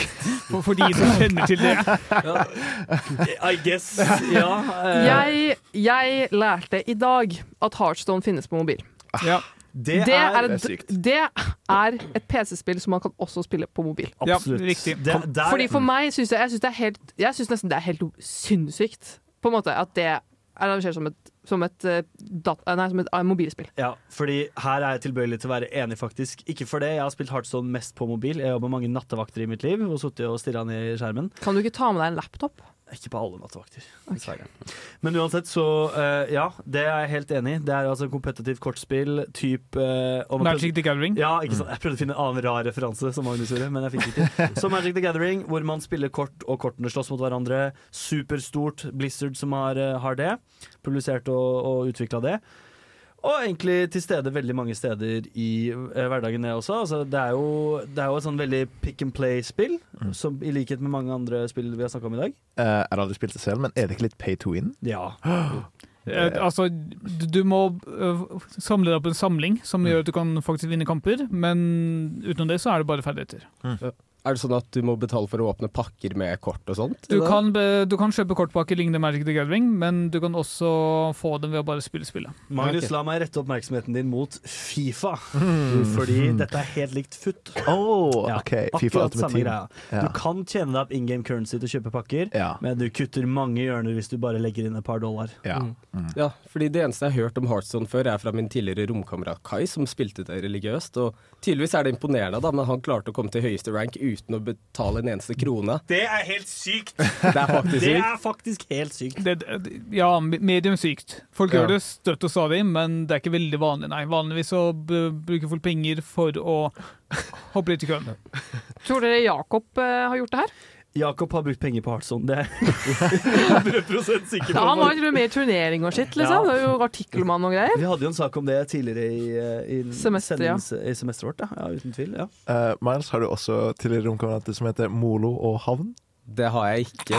S8: For, for de som kjenner til
S3: [laughs]
S8: det.
S3: Ja. [laughs] I guess. Ja. eh,
S4: Jeg, jeg lærte i dag at Heartstone finnes på mobil.
S8: Ja.
S3: det,
S4: Det
S3: er,
S4: er,
S5: det er sykt.
S4: det er et PC-spill som man kan også spille på mobil.
S8: Ja,
S3: absolutt
S8: riktig.
S3: Det, der,
S4: Fordi For meg syns jeg, jeg, synes det er helt, jeg synes nesten det er helt sinnssykt på en måte at det er arrangert som et, som et, eh, dat, nei, som et eh, mobilspill.
S3: Ja, fordi her er jeg tilbøyelig til å være enig, faktisk. Ikke for det, jeg har spilt Heartstone mest på mobil. Jeg jobber mange nattevakter i mitt liv og sittet og stirra ned i skjermen.
S4: Kan du ikke ta med deg en laptop?
S3: Ikke på alle nattevakter, dessverre. Men uansett, så eh, ja, det er jeg helt enig i. Det er altså kompetitivt kortspill eh, type
S8: Magic the Gathering.
S3: ja, ikke sant? Jeg prøvde å finne en annen rar referanse, som Magnus gjorde, men jeg fikk det ikke til. Så Magic the Gathering, hvor man spiller kort, og kortene slåss mot hverandre. Superstort. Blizzard som har, eh, har det. Publisert og, og utvikla det. Og egentlig til stede veldig mange steder i eh, hverdagen, det også. Altså, det, er jo, det er jo et sånn veldig pick and play-spill,
S5: Mm.
S3: som i likhet med mange andre spill vi har snakka om i dag.
S5: Eh, jeg har aldri spilt det selv, men er det ikke litt pay to win?
S3: Ja.
S8: Eh, altså, du, du må eh, samle deg opp en samling som gjør at du kan faktisk vinne kamper, men utenom det så er det bare ferdigheter.
S6: Er det sånn at du må betale for å åpne pakker med kort og sånt?
S8: Du kan, be, du kan kjøpe kortpakke lignende Magic the Gathering, men du kan også få dem ved å bare spille spillet.
S3: Magnus,
S6: Ok.
S3: la meg rette oppmerksomheten din mot Fifa, fordi dette er helt likt FUT.
S5: Mm. Oh,
S3: Ja,
S5: OK. Fifa
S3: akkurat
S5: Ultimate
S3: samme
S5: Team.
S3: greia.
S5: Ja.
S3: Du kan tjene deg opp in game currency til å kjøpe pakker,
S5: Ja.
S3: men du kutter mange hjørner hvis du bare legger inn et par dollar.
S5: ja.
S6: Mm. Ja, fordi det eneste jeg har hørt om Heartstone før, er fra min tidligere romkamerat Kai, som spilte det religiøst. Og tydeligvis er det imponerende, da, men han klarte å komme til høyeste rank uten å betale en eneste krone.
S9: Det er helt sykt.
S6: Det er faktisk
S3: Det
S6: sykt.
S3: er faktisk helt sykt.
S8: Det, det- ja, medium sykt. Folk
S6: Ja.
S8: gjør det støtt og stadig, men det er ikke veldig vanlig, nei. Vanligvis så b bruker folk penger for å hoppe litt i køen.
S4: Tror dere Jakob eh, har gjort det her?
S3: Jakob har brukt penger på Heartstone, det [laughs] er jeg 100 sikker
S4: Ja, han
S3: på.
S4: var jo til og med i turnering og shit,
S3: Ja.
S4: liksom. Det er jo artikkelmann og greier.
S3: Vi hadde jo en sak om det tidligere i, eh, i
S4: Semester, ja.
S3: sendings- i semesteret vårt, ja. ja. Uten tvil. Ja.
S5: Eh, Miles, har du også tidligere romkamerater som heter Molo og Havn?
S6: Det har jeg ikke.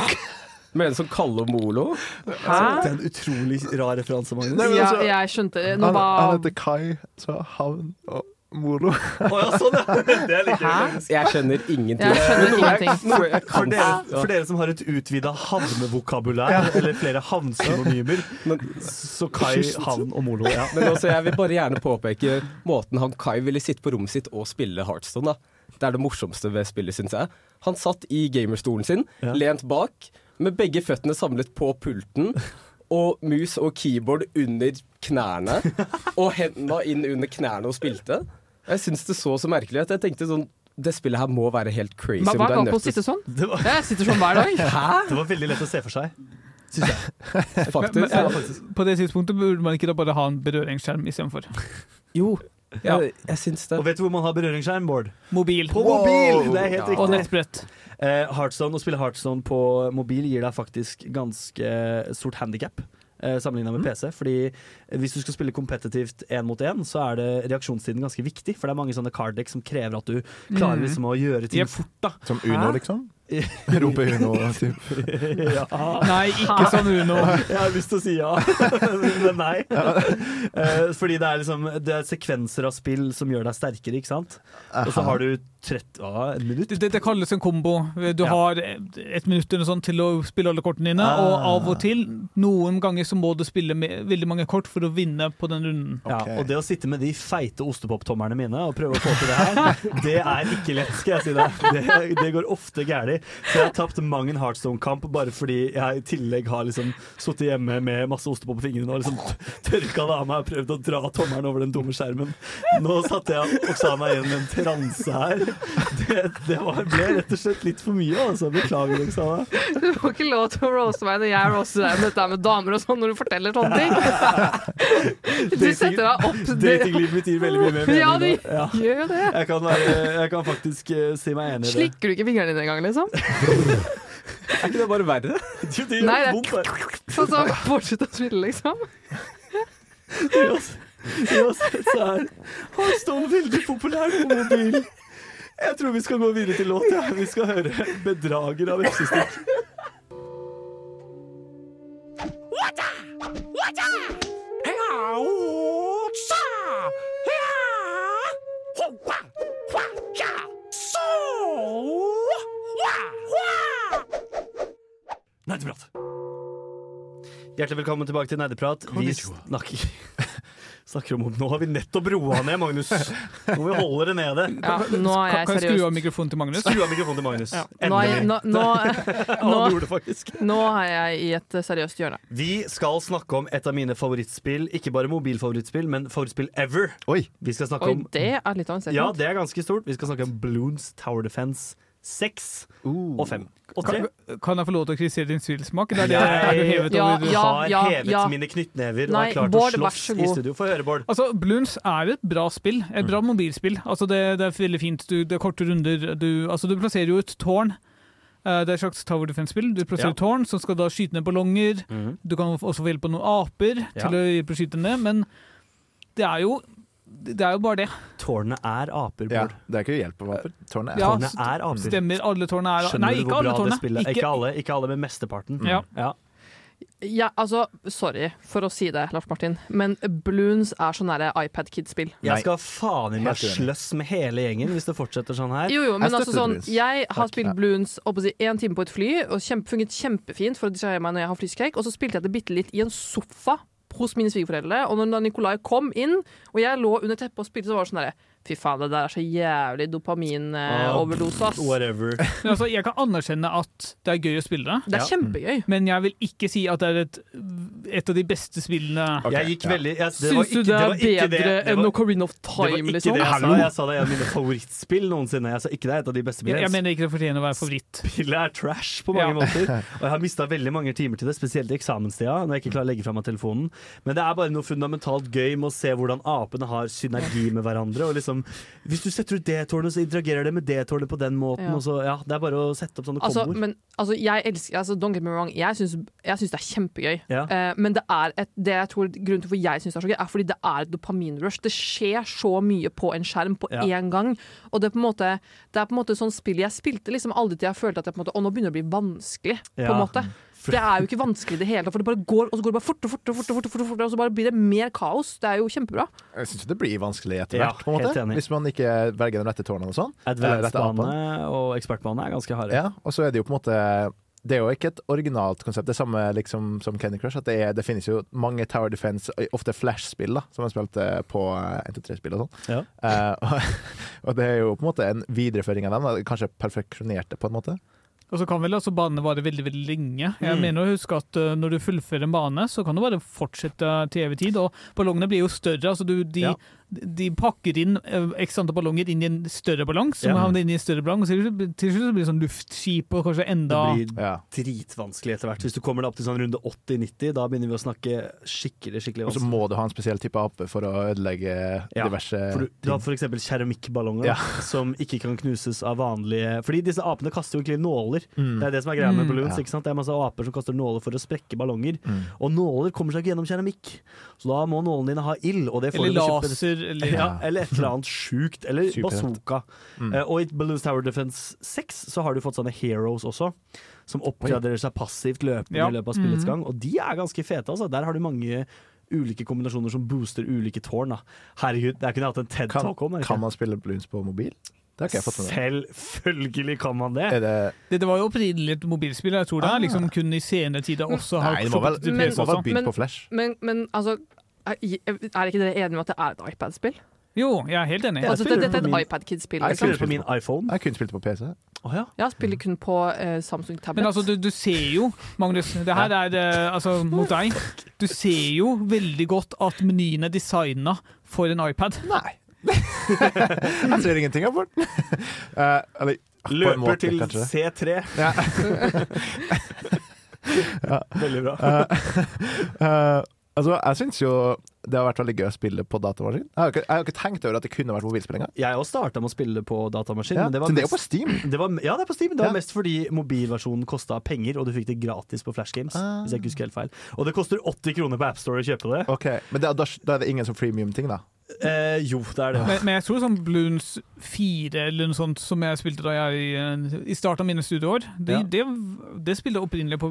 S6: Men en sånn som kaller Molo
S3: Det er en utrolig rar referanse, Magnus.
S5: Nei, men
S4: Ja,
S5: altså,
S4: jeg skjønte det. Nå
S5: han, han
S4: var
S5: heter Kai, så Havn og Molo.
S3: Å, ja, sånn, ja. [laughs] Det er like
S4: Hæ?
S6: Jeg skjønner ingenting.
S4: Jeg skjønner ingenting.
S6: Noe jeg
S3: For
S6: kan
S3: dere, for dere som har et utvida havnevokabulær, eller flere havnsynonymer,
S6: Men,
S3: så Kai, havn og Molo. Ja.
S6: men også, jeg vil bare gjerne påpeke måten han Kai ville sitte på rommet sitt og spille Heartstone da. Det er det morsomste ved spillet, syns jeg. Han satt i gamerstolen sin,
S3: Ja.
S6: lent bak, med begge føttene samlet på pulten. Og mus og keyboard under knærne. Og hendene inn under knærne og spilte. Jeg syns det så så merkelig ut. Jeg tenkte sånn Det spillet her må være helt crazy.
S4: Hva
S6: men
S4: hva
S6: du er
S4: er galt med
S6: nødt
S4: å
S6: til-
S4: sitte
S3: [laughs]
S4: sånn?
S3: Det var
S4: Jeg sitter sånn hver dag.
S3: Det var veldig lett å se for seg. syns jeg.
S4: sånn.
S8: Men,
S6: Faktisk.
S8: men, eh, på det tidspunktet burde man ikke da bare ha en berøringsskjerm istedenfor.
S6: Jo,
S8: Ja.
S6: jeg, jeg syns det.
S3: Og vet du hvor man har berøringsskjerm, Bård?
S8: Mobil
S3: På mobil! Det er helt riktig.
S8: og nettbrett.
S3: Eh, Hearthstone, å spille Heartstone på mobil gir deg faktisk ganske stort handikap. Sammenligna med PC. Fordi Hvis du skal spille kompetitivt én mot én, så er det reaksjonstiden ganske viktig. For det er mange sånne card decks som krever at du klarer
S8: Mm.
S3: liksom å gjøre ting
S8: Jep.
S3: fort. da
S5: Som Uno,
S3: Hæ?
S5: liksom? [laughs] Rope Uno, typ.
S3: [laughs] ja.
S8: [laughs] Nei, ikke sånn Uno.
S3: Jeg har lyst til å si ja, [laughs] men nei. Eh, Fordi det er liksom Det er sekvenser av spill som gjør deg sterkere, ikke sant? Og så har du 30 ah, et minutt.
S8: Det- Dette kalles en kombo. Du
S3: Ja.
S8: har et minutt eller sånn til å spille alle kortene dine,
S3: Ah.
S8: og av og til, noen ganger, så må du spille med veldig mange kort for å vinne på den runden.
S3: Ja,
S5: Ok.
S3: og det å sitte med de feite ostepoptommerne mine og prøve å få til det her,
S4: [laughs]
S3: det er ikke lett, skal jeg si deg. Det, det går ofte gærent. Så jeg har tapt mang en Heartstone-kamp bare fordi jeg i tillegg har liksom sittet hjemme med masse ostepop på fingrene og liksom tørka det av meg og prøvd å dra tommelen over den dumme skjermen. Nå satte jeg Oksana igjen med en transe her. Det, det var, ble rett og slett litt for mye, altså. Beklager, Oksana.
S4: Du får ikke lov til å roaste meg når jeg roaster deg om dette med damer og sånn, når du forteller sånne ting. Du setter deg opp
S3: Datinglivet mitt gir veldig mye mer mening.
S4: Ja,
S3: nå.
S4: det
S3: Ja.
S4: gjør jo det.
S3: Jeg kan, være, jeg kan faktisk eh, si meg enig i det.
S4: Slikker du ikke fingrene dine engang, liksom?
S6: Er ikke det bare verre?
S3: [laughs] Det gjør
S4: Nei, det er-
S3: vondt, det.
S4: Sånn som fortsett å spille, liksom.
S3: Uansett uansett så er Hearthstone veldig populær på mobil. Jeg tror vi skal gå videre til låt. Ja. Vi skal høre 'Bedrager' av Vepsestikk. Nerdeprat. Hjertelig velkommen tilbake til Nerdeprat. Vi snakker, snakker om Nå har vi nettopp roa ned, Magnus. Nå må vi holde det nede.
S4: Ja, nå er jeg
S8: Kan, kan jeg skru av
S4: seriøs.
S8: mikrofonen til Magnus?
S3: Skru av mikrofonen til Magnus.
S4: Nå er jeg,
S3: Endelig.
S4: nå, nå,
S3: Ja,
S4: [laughs] nå-
S3: du gjorde det faktisk.
S4: nå er jeg i et eh, seriøst hjørne.
S3: Vi skal snakke om et av mine favorittspill. Ikke bare mobilfavorittspill, men favorittspill ever.
S5: Oi.
S3: Vi skal snakke
S4: Oi,
S3: om
S4: det er litt av en
S3: Ja,
S4: setning.
S3: det er ganske stort. Vi skal snakke om Bloons Tower Defense 6 og 5 og 3.
S8: Kan, kan jeg få lov til å kritisere din svilsmak? Eller er det,
S3: Jeg-
S8: er du hevet
S4: Ja,
S8: over
S4: ja.
S3: har hevet mine knyttnever og
S4: Nei,
S3: har klart
S4: Bård,
S3: å
S4: vær
S3: slåss
S4: så
S3: i
S4: god.
S3: studio. Få høre, Bård.
S8: Altså, Bloons er et bra spill. Et
S3: Mm.
S8: bra mobilspill. Altså, det, det er veldig fint. Du, det er korte runder. Du, altså, du plasserer jo et tårn. Eh, Det er et slags Tower Defense-spill. Du
S3: Ja.
S8: plasserer et tårn som skal da skyte ned ballonger. Du kan også få hjelp av noen aper
S3: Ja.
S8: til å hjelpe å skyte ned, men det er jo det er jo bare det.
S3: Tårnet er aper,
S5: Ja,
S3: Bård.
S5: det er ikke hjelp å være på tårnet.
S8: Ja.
S3: Tårnet er aper.
S8: Stemmer. Alle tårnene er
S3: Skjønner
S8: Nei,
S3: du
S8: ikke
S3: hvor
S8: alle
S3: bra det
S8: tårnene.
S3: spillet Ikke alle, ikke alle, men mesteparten.
S8: Ja.
S3: Ja.
S4: Ja, altså, sorry for å si det, Lars Martin, men Bloons er sånn derre iPad Kids-spill.
S3: Jeg
S5: Nei.
S3: skal faen i meg
S5: Helt enig.
S3: sløss med hele gjengen hvis det fortsetter sånn her.
S4: Jo, jo, men
S5: Jeg
S4: altså
S5: støtter
S4: sånn
S5: Bloons.
S4: Jeg har
S5: Takk.
S4: spilt
S5: Ja.
S4: Bloons oppå si, en time på et fly, og kjempe, funget kjempefint for å distrahere meg når jeg har flyskrekk. Og så spilte jeg det bitte litt i en sofa hos mine svigerforeldre. Og når da Nikolai kom inn, og jeg lå under teppet og spilte, så var det sånn derre Fy faen, det der er så jævlig eh, dopaminoverdosass. ass.
S3: Eh, Whatever.
S8: Men altså, jeg kan anerkjenne at det er gøy å spille det,
S4: Det er
S3: Ja. Mm.
S4: kjempegøy.
S8: men jeg vil ikke si at det er et, et av de beste spillene
S5: Ok,
S3: jeg gikk
S5: ja.
S3: veldig jeg, det var
S4: Syns du
S3: ikke-
S4: det er
S3: var ikke det-
S4: bedre
S3: det var-
S4: enn Ocarina of
S3: Det var
S4: Time,
S3: ikke
S4: liksom?
S3: det jeg sa.
S4: Hallo?
S3: Jeg sa det er en av mine favorittspill noensinne. Jeg sa ikke det er et av de beste
S8: Jeg, jeg
S3: spillene.
S8: mener ikke det fortjener å være favoritt.
S3: Spillet er trash på mange
S8: Ja.
S3: måter. Og jeg har mista veldig mange timer til det, spesielt i eksamenstida, når jeg ikke klarer å legge fra meg telefonen. Men det er bare noe fundamentalt gøy med å se hvordan apene har synergi med hverandre. Og liksom, hvis du setter ut det tårnet, så interagerer det med det tårnet på den måten.
S4: Ja.
S3: Og så, ja, det er bare å sette opp sånne
S4: Altså,
S3: komboer.
S4: men, altså, jeg elsker altså, Don't get me wrong, jeg syns, jeg syns det er kjempegøy.
S3: Ja.
S4: Eh, men det er et, det jeg tror grunnen til hvorfor jeg syns det er så gøy, er fordi det er et dopaminrush. Det skjer så mye på en skjerm på
S3: Ja.
S4: én gang. Og det er på en måte Det er på en måte sånn spill jeg spilte liksom aldri til jeg følte at jeg på en måte, Å, nå begynner det å bli vanskelig. På en
S3: Ja.
S4: måte Det er jo ikke vanskelig i det hele tatt, for det bare går, og så går det bare fortere, fortere, fortere, fortere, fortere, og så bare blir det mer kaos. Det er jo kjempebra.
S5: Jeg syns det blir vanskelig etter
S3: Ja,
S5: hvert, på en måte.
S3: helt enig.
S5: Hvis man ikke velger de rette tårnene og sånn. Eller rette
S3: Advance-bane og ekspertbane er ganske harde.
S5: Ja, og så er det jo på en måte Det er jo ikke et originalt konsept. Det er samme liksom, som Candy Crush. At det, er, det finnes jo mange Tower Defense, ofte Flash-spill, da som man spilte på 1-3-spill og sånn.
S3: Ja.
S5: Eh, [laughs] og, og det er jo på en måte en videreføring av dem. Da. Kanskje perfeksjonerte, på en måte.
S8: Og så kan vel altså banene vare veldig veldig lenge.
S3: Mm.
S8: Jeg mener å huske at uh, Når du fullfører en bane, så kan du bare fortsette til evig tid. Og ballongene blir jo større. altså du, de,
S3: Ja.
S8: de pakker inn eh, x antall ballonger inn i en større ballong, som
S3: Ja.
S8: havner inn i en større ballong, og så til slutt så blir det sånn luftskip og kanskje
S3: Det
S8: enda
S3: blir
S5: Ja.
S3: dritvanskelig etter hvert. Hvis du kommer deg opp til sånn runde 80-90, da begynner vi å snakke skikkelig skikkelig
S5: Og så
S3: vanskelig.
S5: må du ha en spesiell type ape for å ødelegge
S3: Ja,
S5: diverse
S3: For du, du har f.eks. keramikkballonger da, [laughs] som ikke kan knuses av vanlige Fordi disse apene kaster jo egentlig nåler.
S5: Mm.
S3: Det er det som er greia med
S8: Mm.
S3: balloons.
S5: Ja.
S3: ikke sant? Det er masse aper som kaster nåler for å sprekke ballonger.
S5: Mm.
S3: Og nåler kommer seg ikke gjennom keramikk, så da må nålene dine ha ild. Og det får
S8: Eller
S3: du ved å kjøpe-
S8: laser, eller
S3: Ja, eller et eller annet sjukt.
S5: [laughs]
S3: Eller
S5: Superhelt.
S3: bazooka.
S5: Mm.
S3: Eh, og i Balloons Tower Defense 6 så har du fått sånne heroes også, som oppgraderer seg passivt løpende
S8: Ja.
S3: i løpet av spillets
S5: Mm.
S3: gang. Og de er ganske fete, altså. Der har du mange ulike kombinasjoner som booster ulike tårn. Da. Herregud, der kunne jeg hatt en TED
S5: kan,
S3: Talk om. er det ikke?
S5: kan man spille balloons på mobil? Det har ikke jeg fått med meg.
S3: Selvfølgelig kan man det!
S5: Er det,
S8: Dette var jo opprinnelig et mobilspill, og jeg tror det
S3: Ah.
S8: er liksom kun i senere tider også har
S5: nei, det må vel,
S8: sluppet til
S5: det
S8: PC
S5: må vel
S8: også.
S5: begynt
S4: Men-
S5: på Flash.
S4: Men, men altså er er ikke dere enige om at det er et iPad-spill?
S8: Jo, jeg er helt enig.
S3: Ja.
S4: Altså,
S3: spiller
S4: det- Dette
S3: på
S4: er
S3: min-
S4: et iPad-kids-spill.
S5: Nei,
S3: Jeg
S4: Liksom.
S3: spiller på min iPhone.
S5: [laughs] Jeg kunne spilt det på PC.
S3: Å ja.
S4: Ja, spiller kun på eh, Samsung Tablet.
S8: Men altså, du, du ser jo, Magnus, det her er eh, altså mot deg. Du ser jo veldig godt at menyen er designa for en iPad.
S5: Nei. jeg ser ingenting av den. [laughs] Eh, eller på en
S3: Løper
S5: måte,
S3: til
S5: kanskje.
S3: C3.
S5: Ja.
S3: [laughs] Veldig bra.
S5: [laughs] Eh, altså, jeg syns jo det har vært veldig gøy å spille på datamaskin. Jeg har jo ikke, jeg har jo ikke tenkt over at det kunne vært mobilspill engang.
S3: Jeg også starta med å spille på datamaskin.
S5: Ja,
S3: men det var
S5: så det
S3: mest-
S5: er jo på Steam.
S3: Det var, ja, det er på Steam. Det var
S5: Ja.
S3: mest fordi mobilversjonen kosta penger, og du fikk det gratis på Flash Games.
S5: Ah.
S3: Hvis jeg ikke husker helt feil Og det koster 80 kroner på AppStore å kjøpe det.
S5: Ok, Men det, er- da, da er det ingen som freemium-ting, da?
S3: Eh, jo, det er det.
S5: Ah.
S8: Men, men jeg tror sånn Bloons 4 eller noe sånt som jeg spilte da jeg i, eh, i starten av mine studieår, det,
S3: Ja.
S8: det, det spilte jeg opprinnelig på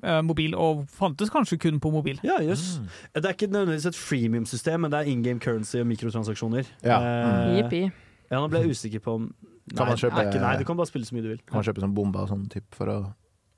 S8: eh, mobil, og fantes kanskje kun på mobil.
S3: Ja, jøss. Det er ikke nødvendigvis et freemium-system, men det er in game currency og mikrotransaksjoner.
S5: Ja. mm.
S3: Eh,
S4: Jippi.
S3: ja nå ble jeg usikker på om nei,
S5: Kan man kjøpe-
S3: det er ikke, nei, du kan bare spille så mye du vil.
S5: Kan man kjøpe sånn bomber og sånn typ for å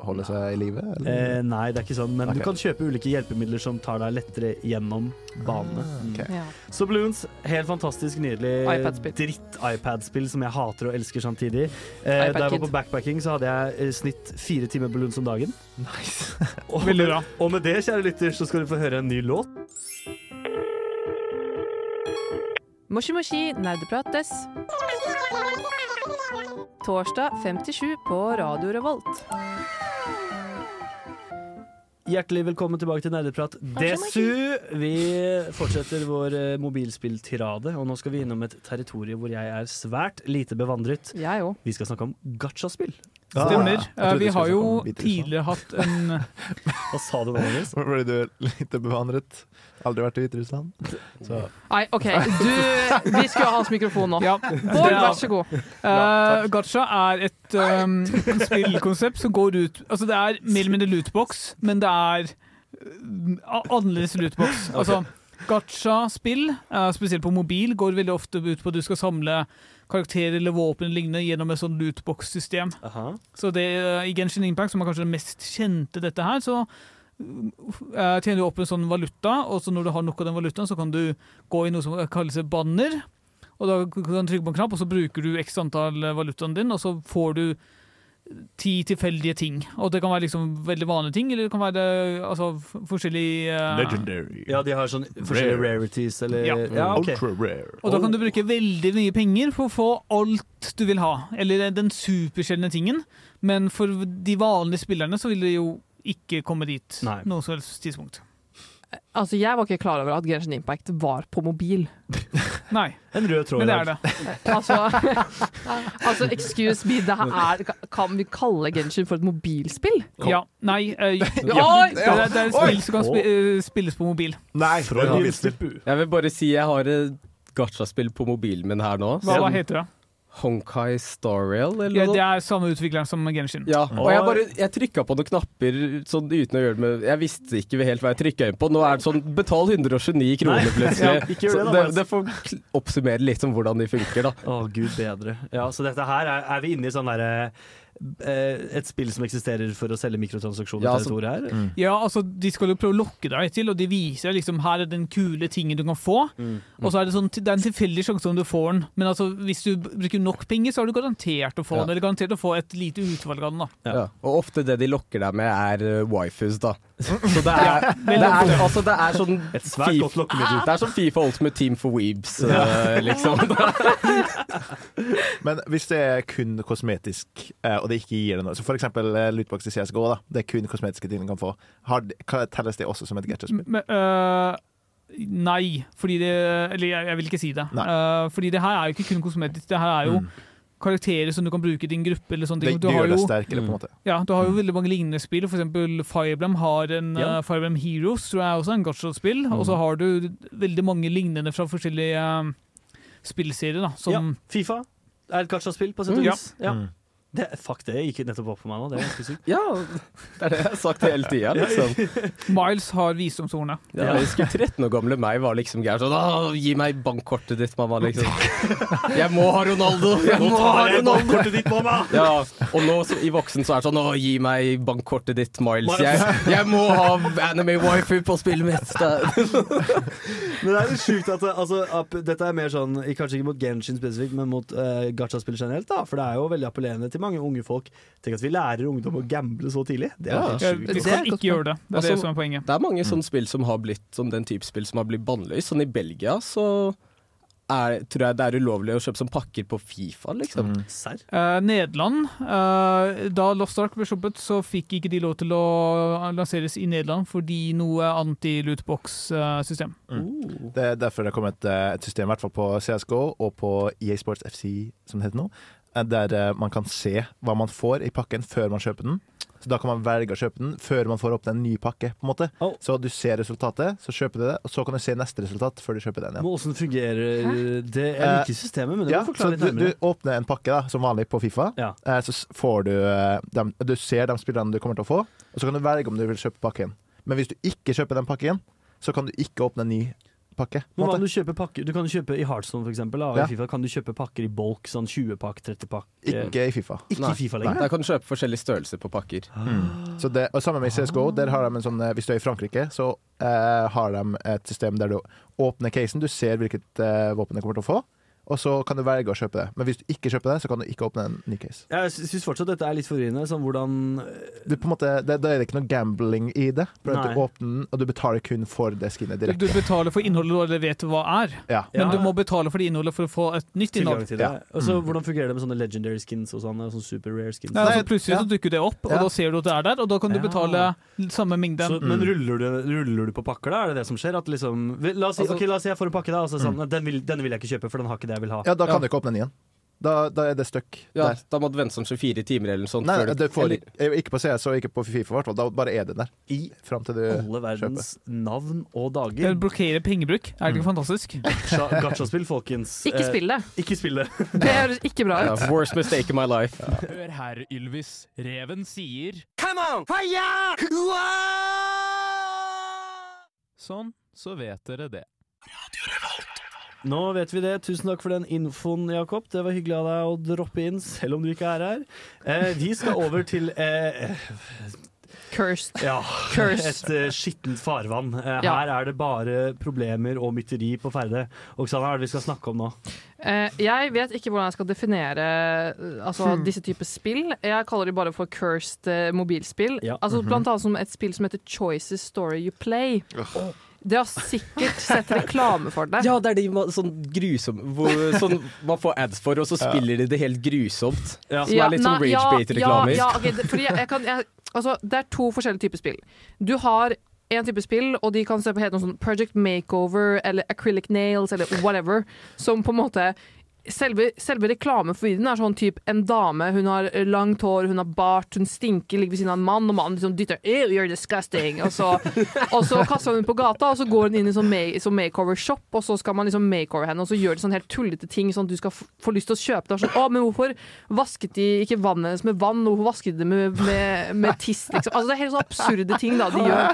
S5: holde seg i live?
S3: Eh,
S5: Eller?
S3: nei, det er ikke sånn, men
S5: Ok.
S3: du kan kjøpe ulike hjelpemidler som tar deg lettere gjennom banene. Mm.
S5: Ah, ok.
S4: Ja.
S3: Så Bloons, helt fantastisk nydelig
S4: iPad-spill.
S3: dritt-iPad-spill som jeg hater og elsker samtidig. Eh,
S4: iPad
S3: da jeg var
S4: Kid.
S3: på backpacking, så hadde jeg eh, snitt fire timer Bloons om dagen.
S5: nice.
S3: [laughs] Og,
S8: Veldig bra.
S3: og med det, kjære lytter, så skal du få høre en ny låt.
S4: Moshi Moshi nerdeprates. Torsdag 57 på Radio Revolt.
S3: Hjertelig velkommen tilbake til Nerdeprat Desu. Vi fortsetter vår eh, mobilspilltirade, og nå skal vi innom et territorium hvor jeg er svært lite bevandret.
S4: Jeg òg.
S3: Vi skal snakke om gachaspill.
S5: Ah,
S8: Stemmer.
S5: jeg trodde
S8: Eh,
S5: du
S8: vi
S5: skulle
S8: har jo
S5: snakke om Beatles, da.
S8: tidligere hatt
S5: [laughs]
S8: en
S3: Hva sa du nå, Magnus?
S5: Ble du litt bevandret? Aldri vært i Hviterussland? Så
S4: Nei, OK. Du, vi skulle ha hans mikrofon nå.
S8: Ja,
S4: Bård,
S8: det er-
S4: vær så god.
S8: Eh, gacha er et um, spillkonsept som går ut Altså, det er mer eller mindre lootbox, men det er uh, annerledes lootbox. Altså, gacha-spill, eh, spesielt på mobil, går veldig ofte ut på at du skal samle karakterer eller våpen eller lignende gjennom et sånn lootbox-system.
S3: Aha.
S8: Så det eh, i Genshin Impact, som er kanskje det mest kjente dette her, så eh, tjener du opp en sånn valuta, og så når du har nok av den valutaen, så kan du gå i noe som kalles et banner, og da kan du trykke på en knapp, og så bruker du x antall eh, valutaen din, og så får du ti tilfeldige ting. Og det kan være liksom veldig vanlige ting, eller det kan være eh, altså, f- forskjellige eh,
S5: Legendary.
S3: Ja, de har sånn forskjellige rarities eller
S8: Ja.
S3: ok.
S5: Ultra rare.
S8: Og da kan du bruke veldig mye penger for å få alt du vil ha. Eller den supersjeldne tingen. Men for de vanlige spillerne så vil det jo ikke komme dit
S3: Nei.
S8: noe som helst tidspunkt.
S4: Altså, jeg var ikke klar over at Genshin Impact var på mobil.
S8: Nei,
S3: En rød tråd.
S8: men det
S3: her.
S8: er det.
S4: [laughs] Altså, altså excuse me, det her er, kan vi kalle Genshin for et mobilspill?
S8: Ja, nei eh,
S4: [laughs] Oi!
S8: Det er, det er et spill som kan spi- eh, spilles på mobil.
S5: Nei,
S3: Fra
S5: ja.
S3: mobilspill.
S6: Jeg vil bare si jeg har et gachaspill på mobilen min her nå.
S8: Hva, hva
S6: som
S8: heter det?
S6: Honkai Star Rail, eller
S8: Ja,
S6: noe?
S8: det er samme utvikleren som Genshin.
S6: Ja,
S3: Mm.
S6: og jeg bare Jeg trykka på noen knapper sånn uten å gjøre det med Jeg visste ikke helt hva jeg trykka inn på. Nå er det sånn betal 129 kroner
S3: [laughs]
S6: plutselig.
S3: ja, ikke gjør
S6: Så
S3: det da,
S6: det,
S3: Magnus.
S6: det får kl- oppsummere litt om hvordan de funker, da.
S3: Å, gud bedre. Ja, så dette her er, er vi inne i sånn derre eh, et spill som eksisterer for å selge mikrotransaksjoner
S6: Ja,
S3: til dette
S6: altså-
S3: ordet her?
S8: Ja, altså, De skal jo prøve å lokke deg til, og de viser deg liksom her er den kule tingen du kan få.
S5: Mm.
S8: Og så er det sånn, det er en tilfeldig sjanse om du får den, men altså, hvis du b- bruker nok penger, så har du garantert å få
S6: Ja.
S8: den. Eller garantert å få et lite utvalg av den. da.
S3: Ja.
S6: Ja. Og ofte det de lokker deg med, er uh, wifus,
S3: [laughs]
S6: da. Så det er, det er, altså, det er sånn
S3: Et svært godt lokkemiddel.
S6: Det er sånn Fifa Ultimate Team for Weebs, eh, liksom. [laughs]
S5: Men hvis det er kun kosmetisk, eh, og det ikke gir deg noe Så for eksempel eh, lootbox i CSGO, da. Det er kun kosmetiske ting du kan få. Har, hva- telles det også som et gadget-spill?
S8: Men, øh, nei, fordi det Eller jeg, jeg vil ikke si det.
S5: Nei.
S8: Øh, fordi det her er jo ikke kun kosmetisk, det her er jo
S5: Mm.
S8: karakterer som du kan bruke i din gruppe. eller sånne
S5: Det,
S8: ting. Du
S5: det
S8: har
S5: gjør deg
S8: jo,
S5: sterkere, på en måte.
S8: ja, du har jo veldig mange lignende spill. For eksempel Fireblem har en
S3: Ja.
S8: øh, Fireblem Heroes, tror jeg også er en gacha-spill. Og så har du veldig mange lignende fra forskjellige øh, spillserier. da, som...
S3: Ja, Fifa er et gacha-spill, på sett og
S8: Mm.
S3: vis. Ja.
S5: Mm.
S3: Det, fuck, det gikk nettopp opp for meg nå. Det er ganske [laughs] sykt.
S6: Ja, det er det jeg har sagt hele tida, liksom.
S8: Miles har visdomshornet.
S6: Ja, jeg husker 13 år gamle meg var liksom gæren sånn «Åh, Gi meg bankkortet ditt, mamma.
S5: [laughs]
S6: Liksom. Jeg må ha Ronaldo! Jeg må ha Ronaldo!
S3: Kortet ditt, mamma!
S6: Ja, og nå så, i voksen så er det sånn Å, gi meg bankkortet ditt, Miles. Jeg, jeg må ha anime wifi på spillet mitt! Det,
S3: [laughs] Men det er jo sjukt at det- altså, app, Dette er mer sånn i- Kanskje ikke mot Genshin spesifikt, men mot eh, gacha-spill generelt. da For det er jo veldig appellerende til mange unge folk. Tenk at vi lærer ungdom å gamble så tidlig. Det er
S6: Ja.
S3: helt
S8: Ja,
S3: sjukt.
S8: vi
S6: Det er
S8: skal
S6: et
S8: ikke gjøre det. Det er
S6: Altså,
S8: det som er poenget.
S6: det er mange sånne spill som har blitt Som den type spill som har blitt bannlyst. Sånn i Belgia så er, tror jeg det er ulovlig å kjøpe som pakker på Fifa, liksom.
S5: Mm.
S3: Serr?
S8: Eh, Nederland eh, Da Lost Ark ble sluppet, så fikk ikke de lov til å eh, lanseres i Nederland fordi noe eh, anti-lootbox-system.
S3: Mm. Oh.
S5: Det er derfor det har kommet eh, et system, i hvert fall på CSGO og på EA Sports FC, som det heter nå, eh, der eh, man kan se hva man får i pakken før man kjøper den. Så da kan man velge å kjøpe den før man får opp en ny pakke. på en måte.
S3: Oh.
S5: Så du ser resultatet, så kjøper du det, og så kan du se neste resultat før du kjøper den
S3: Men
S5: igjen.
S3: åssen fungerer det? Jeg liker systemet, men det
S5: Eh, Ja,
S3: må du
S5: så
S3: forklare litt
S5: du, du
S3: nærmere.
S5: åpner en pakke da, som vanlig på Fifa,
S3: Ja.
S5: eh, så s- får du, eh, dem, du ser de spillerne du kommer til å få, og så kan du velge om du vil kjøpe pakken. Men hvis du ikke kjøper den pakken, så kan du ikke åpne en ny pakke. på en
S3: Men hva
S5: måte.
S3: om du kjøper pakker? Du kan jo kjøpe i Heartstone, for eksempel. Da, og
S5: Ja.
S3: i FIFA kan du kjøpe pakker i bulk, sånn 20-pakk, 30-pakk.
S5: Ikke i Fifa.
S3: Ikke
S6: Nei.
S3: i Fifa lenger. Ah.
S6: Der kan du kjøpe forskjellige størrelser på pakker.
S5: Så det, og sammen med CSGO, der har de en sånn, eh, hvis du er i Frankrike, så eh, har de et system der du åpner casen, du ser hvilket eh, våpen du kommer til å få, og så kan du velge å kjøpe det. Men hvis du ikke kjøper det, så kan du ikke åpne en ny case.
S3: Jeg sy- syns fortsatt dette er litt forvirrende. Sånn hvordan
S5: Du, på en måte, det, da er det ikke noe gambling i det, for at
S3: Nei.
S5: du åpner den, og du betaler kun for det skinnet
S8: Du,
S5: direkte.
S8: du betaler for innholdet du allerede vet hva er,
S5: Ja.
S3: Ja.
S8: men du må betale for det innholdet for å få et nytt
S3: Tilgang
S8: innhold.
S3: til det.
S5: Ja.
S3: Og så
S5: Mm.
S3: Hvordan fungerer det med sånne legendary skins og sånne, og sånne super rare skins?
S8: Nei, altså,
S5: Nei,
S8: plutselig
S5: ja.
S8: så dukker det opp, og
S5: Ja.
S8: da ser du at det er der, og da kan du
S3: Ja.
S8: betale samme mengde.
S5: mm.
S3: Så, men ruller du, ruller du på pakker, da? Er det det som skjer? At liksom, vi- la, oss si,
S6: Altså-
S3: ok, la oss si jeg får en pakke, da. Og så er det sånn, «Nei, den vil, denne vil jeg ikke kjøpe, for den har ikke det jeg vil ha.
S5: Mm. ja, da kan
S6: Ja.
S5: du ikke åpne den igjen. Da, da er det stuck
S6: Ja,
S5: der.
S6: da må du vente sånn 24 timer eller noe sånt.
S5: Nei,
S6: før du-
S5: det får,
S6: eller-
S5: ikke på CS og ikke på Fifa, i hvert fall. Da bare er det der.
S3: I
S5: Fram til du
S3: alle verdens navn og
S8: Det
S3: dager.
S8: blokkerer pengebruk. Er det ikke fantastisk?
S3: Gacha- Gachaspill, folkens.
S4: Ikke
S3: Eh,
S4: spill det.
S3: Ikke spill det.
S4: Det høres ikke bra
S6: Ja,
S4: ut.
S6: worst mistake in my life.
S7: Hør her, Ylvis. Reven sier
S8: Sånn.
S7: Så vet dere det.
S3: Nå vet vi det. Tusen takk for den infoen, Jakob. Det var hyggelig av deg å droppe inn, selv om du ikke er her. Eh, vi skal over til eh,
S4: Cursed.
S3: ja,
S4: Curse.
S3: et eh, skittent farvann. Eh,
S4: Ja.
S3: Her er det bare problemer og mytteri på ferde. Oksana, hva er det vi skal snakke om nå?
S4: Eh, jeg vet ikke hvordan jeg skal definere eh, altså,
S6: Hmm.
S4: disse typer spill. Jeg kaller de bare for cursed eh, mobilspill.
S3: Ja.
S4: Altså,
S6: Mhm.
S4: Blant annet som et spill som heter Choices Story You Play. Dere har sikkert sett reklame for det.
S6: Ja, det er de ma- sånn grusom hvor, Sånn man får ads for, og så spiller de det helt grusomt. Som
S4: Ja,
S6: er litt sånn
S4: nei, ja,
S6: Ragebait-reklamer.
S4: Ja, ja, ok, det- fordi jeg, jeg kan, jeg, altså, det er to forskjellige typer spill. Du har en type spill, og de kan se på helt noe sånn Project Makeover eller Acrylic Nails eller whatever, som på en måte Selve, selve reklamen for videoen er sånn typ en dame, hun har eh, langt hår, hun har bart, hun stinker, ligger ved siden av en mann, og mannen liksom dytter Ew, you're disgusting! Og
S5: [laughs]
S4: så, og så kaster hun på gata, og så går hun inn i sånn, ma- sånn makeover-shop, og så skal man liksom makeover henne, og så gjør de sånn helt tullete ting, sånn at du skal f- få lyst til å kjøpe det. Og Sånn, å, men hvorfor vasket de ikke vannet hennes med vann, hvorfor vasket de det med, med, med tiss, liksom? Altså, det er helt sånne absurde ting da de gjør.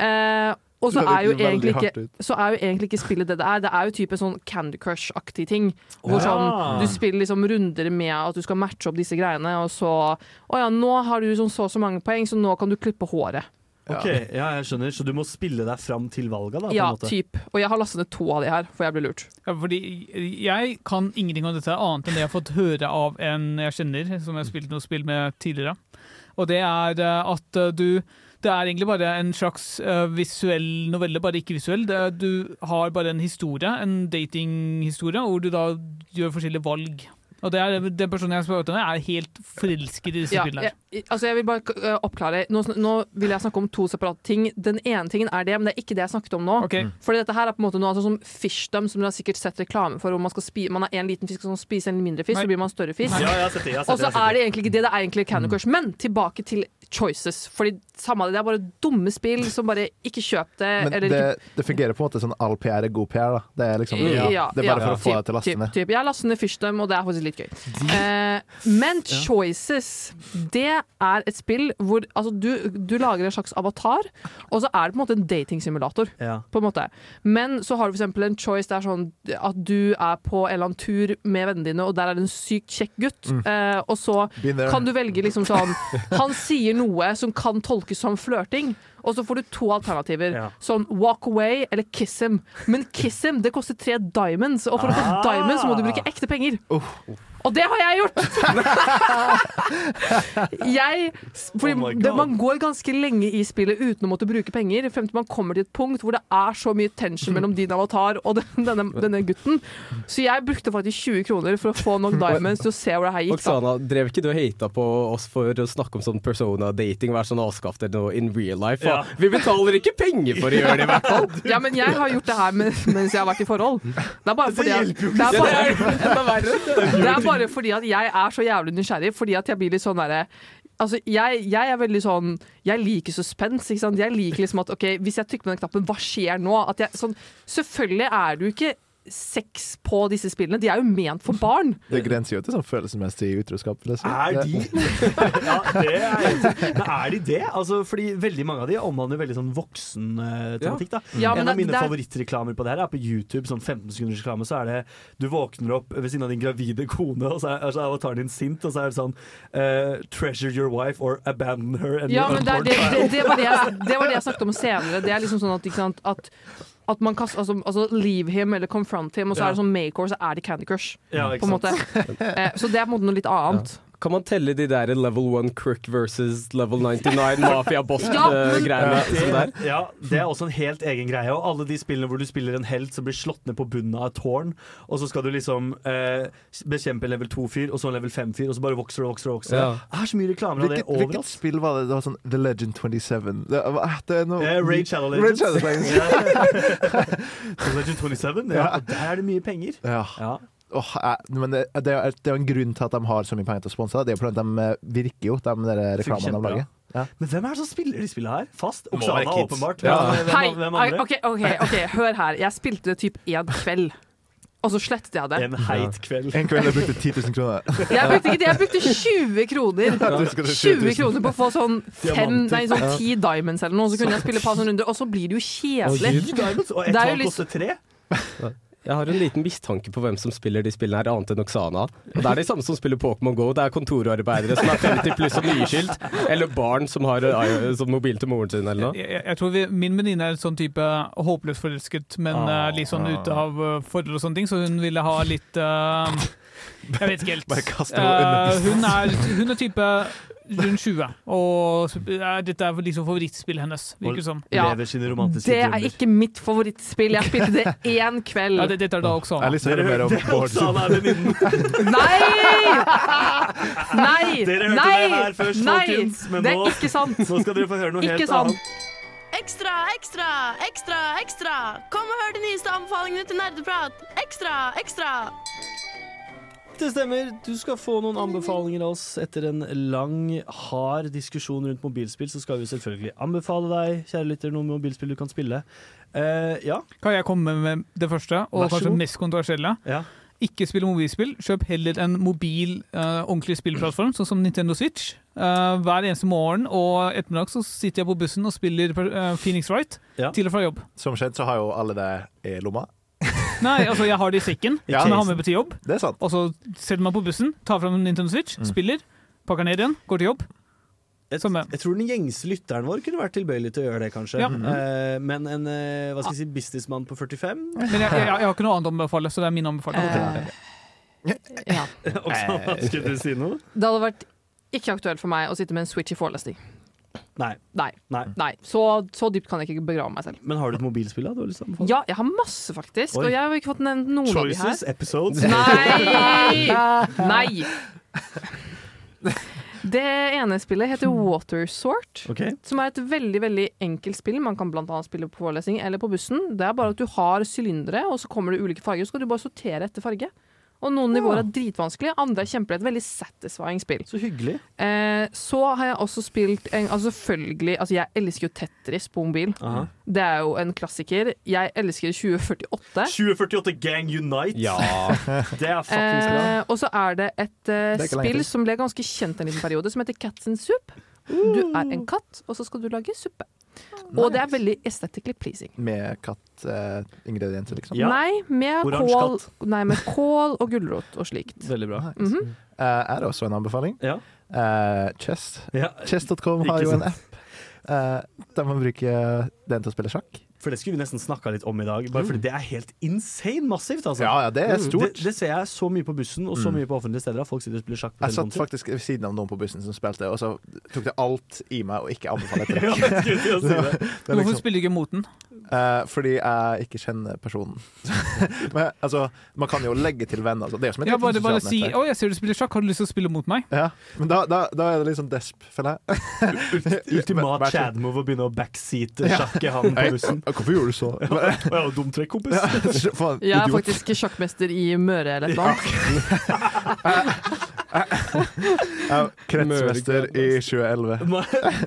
S4: Eh, Og så
S5: Det
S4: er, jo
S5: høres veldig
S4: egentlig
S5: hardt
S4: ikke,
S5: ut.
S4: så er jo egentlig ikke spillet det det er. Det er jo type sånn Candy Crush-aktig ting. Hvor
S3: Ja.
S4: sånn, du spiller liksom runder med at du skal matche opp disse greiene, og så Å ja, nå har du sånn så og så mange poeng, så nå kan du klippe håret.
S3: Ok, ja, jeg skjønner. Så du må spille deg fram til valga, da? På
S4: Ja,
S3: en måte.
S4: typ. Og jeg har lastet ned to av de her, for jeg ble lurt.
S8: Ja, fordi jeg kan ingenting om dette annet enn det jeg har fått høre av en jeg kjenner, som jeg har spilt noe spill med tidligere. Og det er eh, at eh, du Det er egentlig bare en slags eh, visuell novelle, bare ikke visuell. Det er, du har bare en historie, en datinghistorie, hvor du da gjør forskjellige valg. Og det er, den personen jeg spør om, er helt forelsket i disse
S4: Ja,
S8: spillene. her.
S4: jeg, altså jeg vil bare øh, oppklare. Nå, sn- nå vil jeg snakke om to separate ting. Den ene tingen er det, men det er ikke det jeg snakket om nå.
S8: Ok.
S3: Mm.
S4: Fordi dette her er på en måte noe altså, som fishdom, som dere har sikkert sett reklame for. Hvor man, skal spi man er en liten fisk som spiser en mindre fisk,
S8: Nei.
S4: så blir man en større fisk.
S3: Ja, jeg har sett det. jeg har
S4: Og
S3: sett
S4: så
S3: det, Mm. jeg har
S4: er
S3: sett
S4: det egentlig ikke det, det er egentlig Candy Crush. Men tilbake til choices. Fordi samme av det, det er bare dumme spill som bare ikke kjøp Eh, det.
S5: Men
S4: eller
S5: det, det fungerer på en måte sånn all PR er god PR, da. Det er liksom
S4: Ja, Mm. ja,
S5: Det er bare for å få
S4: typ,
S5: deg til å laste
S4: typ,
S5: ned.
S4: typ. Jeg laster ned Fyrstem, og det er faktisk litt gøy. Eh, men Choices, det er et spill hvor altså, du, du lager en slags avatar, og så er det på en måte en datingsimulator.
S3: Ja.
S4: På en måte. Men så har du f.eks. en choice der sånn at du er på en eller annen tur med vennene dine, og der er det en sykt kjekk gutt, eh, og så
S5: Been there.
S4: kan du velge liksom sånn Han sier noe som kan tolkes som flørting, og så får du to alternativer.
S3: Ja.
S4: Sånn walk away eller kiss him. Men kiss him, det koster tre diamonds, og for å få
S3: Ah.
S4: diamonds så må du bruke ekte penger. Og det har
S3: [laughs]
S4: jeg gjort! jeg, fordi
S3: Oh my
S4: det,
S3: God.
S4: man går ganske lenge i spillet uten å måtte bruke penger, frem til man kommer til et punkt hvor det er så mye tension mellom din avatar og den, denne, denne gutten. Så jeg brukte faktisk 20 kroner for å få nok diamonds til å se hvor det her gikk. da.
S6: Oksana, drev ikke du og hata på oss for å snakke om sånn persona-dating? Vær sånn avskaff dere noe in real life.
S3: Ja.
S6: da. Vi betaler ikke penger for å gjøre det, i hvert fall.
S4: Ja, men jeg har gjort det her men- mens jeg har vært i forhold. Det er bare fordi, at- det er bare,
S6: Enda verre.
S4: [laughs] det er bare fordi at jeg er så jævlig nysgjerrig, fordi at jeg blir litt sånn derre Altså, jeg, jeg er veldig sånn Jeg liker suspens. Ikke sant? Jeg liker liksom at OK, hvis jeg trykker på den knappen, hva skjer nå? At jeg, sånn, selvfølgelig er du ikke sex på disse spillene. De er jo ment for barn.
S5: Det grenser jo til sånn følelsesmessig utroskap. vil jeg si.
S3: Er
S5: Det-
S3: de [laughs] Ja, det er, helt- Men er de det? Altså, fordi veldig mange av de omhandler veldig sånn voksen-tematikk. da
S4: Ja, men
S3: En av
S4: det-
S3: mine
S4: det er-
S3: favorittreklamer på det her er på YouTube. Sånn 15 sekunders reklame, så er det Du våkner opp ved siden av din gravide kone, og så er, så er avataren din sint, og så er det sånn eh, Treasure your wife or abandon her. and
S4: Ja,
S3: your
S4: men det, er-
S3: unborn
S4: det,
S3: child."
S4: det, det, var det,
S3: [laughs]
S4: jeg, det var det jeg snakket om senere. Det er liksom sånn at, ikke sant, at at man kaster, altså, altså leave him eller confront him, og så
S3: Ja.
S4: er det sånn make or, så er det Candy Crush.
S3: ja,
S4: på en måte. [laughs] Eh, Så det er på en måte noe litt annet.
S6: Kan man telle de der level 1 crook versus level 99
S4: Ja,
S6: eh,
S4: men-
S6: mafia-boss-greiene som det er?
S3: Eh, Det, ja, det er også en helt egen greie. Og alle de spillene hvor du spiller en helt som blir slått ned på bunnen av et tårn, og så skal du liksom eh, bekjempe en level 2-fyr, og så en level 5-fyr, og så bare vokser og vokser og vokser.
S6: Ja.
S3: Det er så mye reklamer av det
S5: Hvilket, hvilket
S3: overalt.
S5: spill var det? Det var sånn The Legend 27. Det, ah, det er noe
S3: Eh, Raid Shadow
S5: Raid
S3: Legends.
S5: Shadow Legends.
S3: Så Legend 27, ja. Og der er det mye penger.
S5: Ja.
S3: Ja.
S5: Åh, eh, men det, det, er, det er jo en grunn til at de har så mye penger til å sponse. Det er jo fordi de eh, virker jo, de der reklamene de
S3: kjempebra.
S5: lager.
S3: Men hvem er det som spiller de spillene her? Fast?
S9: Må
S3: Oksana,
S9: være kids.
S3: åpenbart.
S5: Ja.
S3: Hvem,
S4: Hei,
S3: hvem, hvem andre?
S4: ok, ok, ok, hør her. Jeg spilte det typ én kveld, og så slettet jeg det.
S3: En heit kveld.
S5: En kveld jeg brukte 10 000
S3: [laughs]
S5: kroner.
S4: Jeg brukte ikke det, jeg brukte 20 kroner.
S5: Du skal til
S4: 20
S5: 7000.
S4: kroner på å få sånn fem,
S3: Diamanter.
S4: nei, sånn ti diamonds eller noe, så kunne jeg spille et par sånne runder, og så blir det jo kjedelig.
S3: Huge Diamonds, og ett
S4: Det er jo
S3: valg
S4: liksom-
S3: koster tre.
S6: Jeg har en liten mistanke på hvem som spiller de spillene her, annet enn Oksana. Og det er de samme som spiller Pokémon Go. Det er kontorarbeidere som er 50 pluss og nyskilt. Eller barn som har eh, som mobil til moren sin eller noe.
S8: Jeg, jeg, jeg tror vi, Min venninne er sånn type håpløst forelsket, men
S3: Ah.
S8: eh, litt sånn ute av eh, forhold og sånne ting, så hun ville ha litt eh, Jeg vet ikke helt.
S5: Bare kaste noe under
S8: Eh, hun, er, hun er type rundt 20, og sp- eh, dette er liksom favorittspillet hennes, virker det som.
S4: Ja.
S3: Lever sine romantiske
S4: Det er
S3: drømmer.
S4: ikke mitt favorittspill. Jeg spilte det én kveld.
S8: Ja, det, dette er da også
S5: Jeg har lyst til å høre mer om
S3: det er
S5: Bård sin.
S3: Oksana er venninnen.
S4: Nei! Nei!
S3: [laughs] Dere hørte
S4: Nei!
S3: det her først,
S4: Nei!
S3: folkens, men
S4: Det
S3: nå-
S4: er ikke sant.
S3: Nå skal dere få høre [laughs] noe
S4: Ikke
S3: helt
S4: sant.
S3: annet.
S7: Ekstra, ekstra, ekstra, ekstra! Kom og hør de nyeste anbefalingene til Nerdeprat! Ekstra, ekstra!
S3: Det stemmer. Du skal få noen anbefalinger av oss etter en lang, hard diskusjon rundt mobilspill. Så skal vi selvfølgelig anbefale deg, kjære lytter, noen mobilspill du kan spille. Eh, ja.
S8: Kan jeg komme med det første,
S3: Vær
S8: og
S3: så
S8: kanskje
S3: god.
S8: mest kontroversielle?
S3: ja.
S8: Ikke spill mobilspill, kjøp heller en mobil, eh, ordentlig spillplattform, sånn som Nintendo Switch. eh, hver eneste morgen og ettermiddag så sitter jeg på bussen og spiller eh, Phoenix Wright
S11: Ja.
S8: til og fra jobb.
S5: Som skjedd så har jo alle det i lomma.
S8: Nei, altså jeg har det i
S5: [laughs]
S8: sekken
S5: Ja.
S8: som jeg har med på til jobb.
S5: Det er sant.
S8: Og så setter man på bussen, tar fram Nintendo Switch,
S5: Mm.
S8: spiller, pakker ned igjen, går til jobb.
S3: Jeg,
S8: Samme.
S3: jeg tror den gjengse lytteren vår kunne vært tilbøyelig til å gjøre det, kanskje.
S8: Ja.
S3: Eh, men en eh, hva skal jeg si, businessmann på 45
S5: [laughs]
S8: Men jeg, jeg, jeg har ikke noe annet å anbefale, så det er min anbefaling.
S4: Eh, ja.
S5: Eh,
S3: Oksana,
S11: Skulle du si noe?
S4: Det hadde vært ikke aktuelt for meg å sitte med en switch i forelesning.
S3: Nei.
S4: Nei.
S3: Nei.
S4: Nei. Så, så dypt kan jeg ikke begrave meg selv.
S3: Men har du et mobilspill, da? Du har lyst til å anbefale?
S4: Ja, jeg har masse, faktisk.
S3: Oi.
S4: Og jeg har ikke fått nevnt noen av
S3: Choices, episodes
S4: de her. Nei! Nei! Det ene spillet heter Water Sort.
S3: Ok.
S4: Som er et veldig veldig enkelt spill. Man kan blant annet spille på forelesning eller på bussen. Det er bare at du har sylindere, og så kommer det ulike farger. Så skal du bare sortere etter farge. Og Noen nivåer er dritvanskelige, andre er kjempelett. Veldig satisfying spill.
S3: [laughs] Så hyggelig.
S4: Eh, så har jeg også spilt en, altså Selvfølgelig, altså jeg elsker jo Tetris på mobil.
S3: Aha.
S4: Det er jo en klassiker. Jeg elsker 2048.
S11: 2048 Gang Unite. [laughs] Det er fuckings bra.
S4: Eh, og så er det et eh,
S5: Det er ikke lenge
S4: spill
S5: til.
S4: som ble ganske kjent en liten periode, som heter Cats in Soup. Du er en katt, og så skal du lage suppe. Og det er veldig aesthetically pleasing.
S5: Med kattingredienser, liksom.
S11: Ja.
S4: Nei, med
S11: Oransje
S4: kål, nei, med kål og gulrot og slikt. Mhm.
S3: Veldig bra.
S5: Eh, er det også en anbefaling?
S3: Ja.
S5: Eh, Chess.
S3: Ja,
S5: Chess.com har
S3: Ikke
S5: jo en app eh, der man bruker den til å spille sjakk.
S3: For det skulle vi nesten snakka litt om i dag. Bare fordi det er helt insane massivt, altså.
S5: Ja, ja, det er stort.
S3: Det, det ser jeg så mye på bussen og så
S5: Mm.
S3: mye på offentlige steder. at Folk sitter og spiller sjakk på
S5: Jeg satt
S3: telefonen.
S5: faktisk ved siden av noen på bussen som spilte, og så tok det alt i meg å ikke anbefale et trekk. Det er
S8: Hvorfor
S5: liksom,
S8: spiller du ikke mot den?
S5: eh, fordi jeg ikke kjenner personen. [laughs] Men altså, man kan jo legge til venner. Altså. Det er jo som et
S8: Ja,
S5: lite
S8: bare, bare
S5: sosialt
S8: si
S5: nettverk.
S8: 'Å, jeg ser du spiller sjakk, har du lyst til å spille mot meg?'
S5: Ja, men da, da, da er det liksom desp, føler jeg.
S3: [laughs]
S11: Ultimat Chad-move å begynne å backseate sjakke han på
S5: Nei,
S11: bussen.
S5: Hvorfor gjorde du så? [laughs]
S11: Å ja, dumt trekk, kompis.
S5: Faen,
S4: Jeg er
S5: idiot.
S4: faktisk sjakkmester i Møre eller et eller annet.
S5: Jeg er kretsmester i
S3: [laughs]
S5: 2011.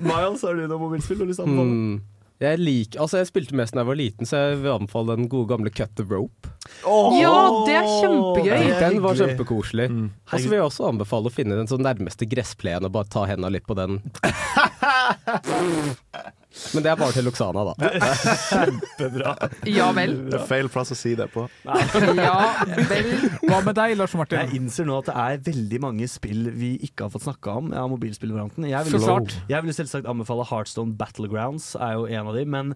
S11: Miles, har du noe mobilspill du har lyst til å anbefale?
S6: Mm. Jeg, lik, altså jeg spilte mest da jeg var liten, så jeg vil anbefale den gode gamle Cut the Rope.
S4: Ja, det er kjempegøy!
S6: Den var kjempekoselig.
S5: Mm.
S6: Og så vil jeg også anbefale å finne den sånn nærmeste gressplenen og bare ta henda litt på den. Men det er bare til Oksana, da.
S4: Ja vel.
S5: [laughs] Det er feil plass å si det på.
S4: Ja vel.
S8: Hva med deg, Lars
S3: Jeg
S8: Martin?
S3: innser nå at det er veldig mange spill vi ikke har fått snakka om av mobilspillvarianten. Jeg
S8: Så
S3: ville
S8: klart.
S3: jeg ville selvsagt anbefale Heartstone Battlegrounds, er jo en av de. Men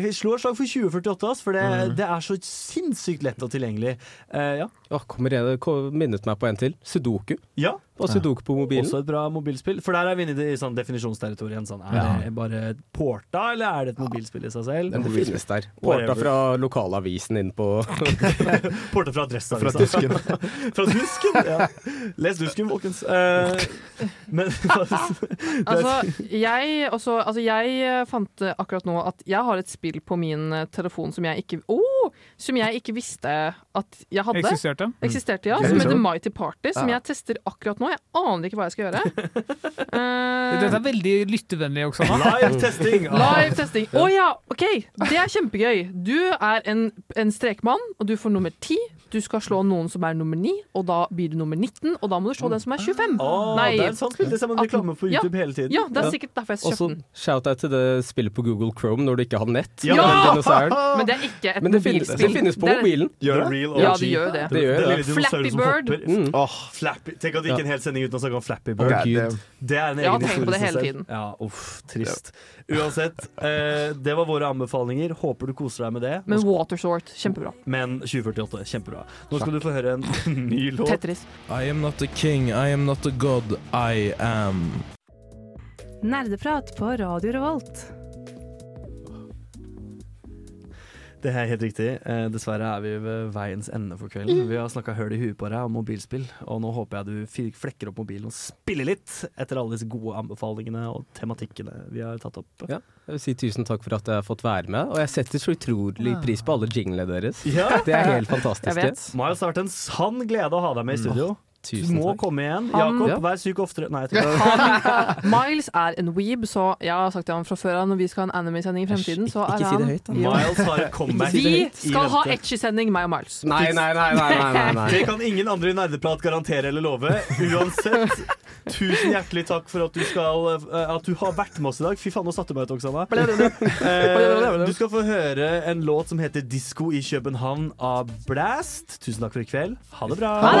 S3: jeg slår slag for 2048, ass, for det,
S4: Mm.
S3: det er så sinnssykt lett og tilgjengelig. Eh, ja.
S6: Åh, kommer jeg, kom- minnet meg på en til. Sudoku.
S3: ja.
S6: Og Sudoku på mobilen.
S3: Også et bra mobilspill. For der er vi inne i sånn definisjonsterritoriet. Sånn, er det bare porta, eller er det et mobilspill i seg selv?
S6: Den finnes der.
S3: Whatever.
S6: Porta fra lokalavisen inn på
S3: Porta fra
S5: Fra
S3: Adresseavisa.
S5: dusken.
S3: Fra dusken! Ja. Les dusken, folkens. Eh,
S4: [laughs]
S3: men
S4: Altså, jeg, også, altså, jeg eh, fant eh, akkurat nå at jeg har et spill på min eh, telefon som jeg ikke oh, Som jeg ikke visste at jeg hadde.
S8: Eksisterte?
S4: Eksisterte, ja.
S5: Ok,
S4: Som
S5: så-
S4: heter Mighty Party, som
S5: Ja.
S4: jeg tester akkurat nå. Jeg aner ikke hva jeg skal
S6: [laughs]
S4: gjøre. Eh,
S8: Dette er veldig lyttevennlig,
S5: [laughs]
S8: Oksana.
S3: live testing!
S4: Live testing. Å ja, OK! Det er kjempegøy. Du er en, en strekmann, og du får nummer ti. Du skal slå noen som er nummer ni, og da blir du nummer 19, og da må du slå den som er 25.
S6: Ah.
S3: Å,
S4: Nei.
S3: Det er sånn spill. Det ser man
S4: At-
S3: reklame på
S4: Ja.
S3: YouTube hele tiden.
S4: Ja, det er sikkert derfor jeg kjøpte
S6: [laughs] Også
S4: den.
S6: shout-out til det spillet på Google Chrome når du ikke har nett.
S3: Ja!
S6: Den dinosaur.
S4: [laughs] Men det er ikke et
S6: Men det finnes,
S4: mobilspill.
S6: det finnes på
S4: Det er-
S6: mobilen.
S5: Gjør
S3: The
S5: det?
S3: real
S4: Ja,
S3: OG.
S4: det gjør det.
S6: Det gjør
S3: Den
S6: det.
S3: lille dinosauren
S4: Flappy
S3: som
S4: Bird.
S3: hopper.
S6: Mm.
S5: Åh,
S3: Flappy. Tenk at vi gikk en hel sending uten å snakke om Flappy Bird.
S5: ok, det,
S3: Det er en
S4: Jeg har
S3: egen
S4: tenkt på
S3: historie i
S4: det
S3: seg
S4: hele
S3: selv.
S4: tiden.
S3: Ja, uff, trist. Uansett, eh, det var våre anbefalinger. Håper du koser deg med det. Nå
S4: Men Watersort, kjempebra.
S3: sk- Men 2048, kjempebra. Nå skal du få høre en [laughs] ny låt.
S4: Tetris.
S10: I am not a king, I am not a god, I am.
S7: Nerdeprat på Radio Revolt.
S3: Det er helt riktig. Eh, dessverre er vi ved veiens ende for
S4: Mm.
S3: kvelden. Vi har snakka høl i huet på deg om mobilspill, og nå håper jeg du fi- flekker opp mobilen og spiller litt etter alle disse gode anbefalingene og tematikkene vi har tatt opp.
S6: Ja. Jeg vil si tusen takk for at jeg har fått være med, og jeg setter så utrolig pris på alle jinglene deres.
S3: [laughs] Ja.
S6: Det er helt
S4: Ah. Jeg
S6: fantastiske.
S4: vet.
S3: Miles, det har vært en sann glede å ha deg med i studio. Du
S6: Tusen
S3: må
S6: takk.
S3: komme igjen.
S4: Han-
S3: Jakob,
S6: Ja.
S3: vær syk oftere. Nei, jeg tror det
S4: Miles er en weeb, så jeg har sagt til ham fra før at når vi skal ha en anime-sending i fremtiden, så er
S6: ikke si
S4: han
S6: det høyt, da.
S4: Jo.
S3: Miles har [laughs] et comeback.
S4: Vi
S3: i
S4: skal ha
S3: vente.
S4: etchy-sending, meg og Miles.
S6: Nei, nei, nei, nei, nei, nei, nei.
S3: Det kan ingen andre i Nerdeprat garantere eller love. Uansett, Tusen hjertelig takk for at du, skal, eh, at du har vært med oss i dag. Fy faen, nå satte du meg ut, Oksana. Eh, Du skal få høre en låt som heter 'Disko i København' av Blast. Tusen takk for i kveld. Ha det bra.
S12: Ha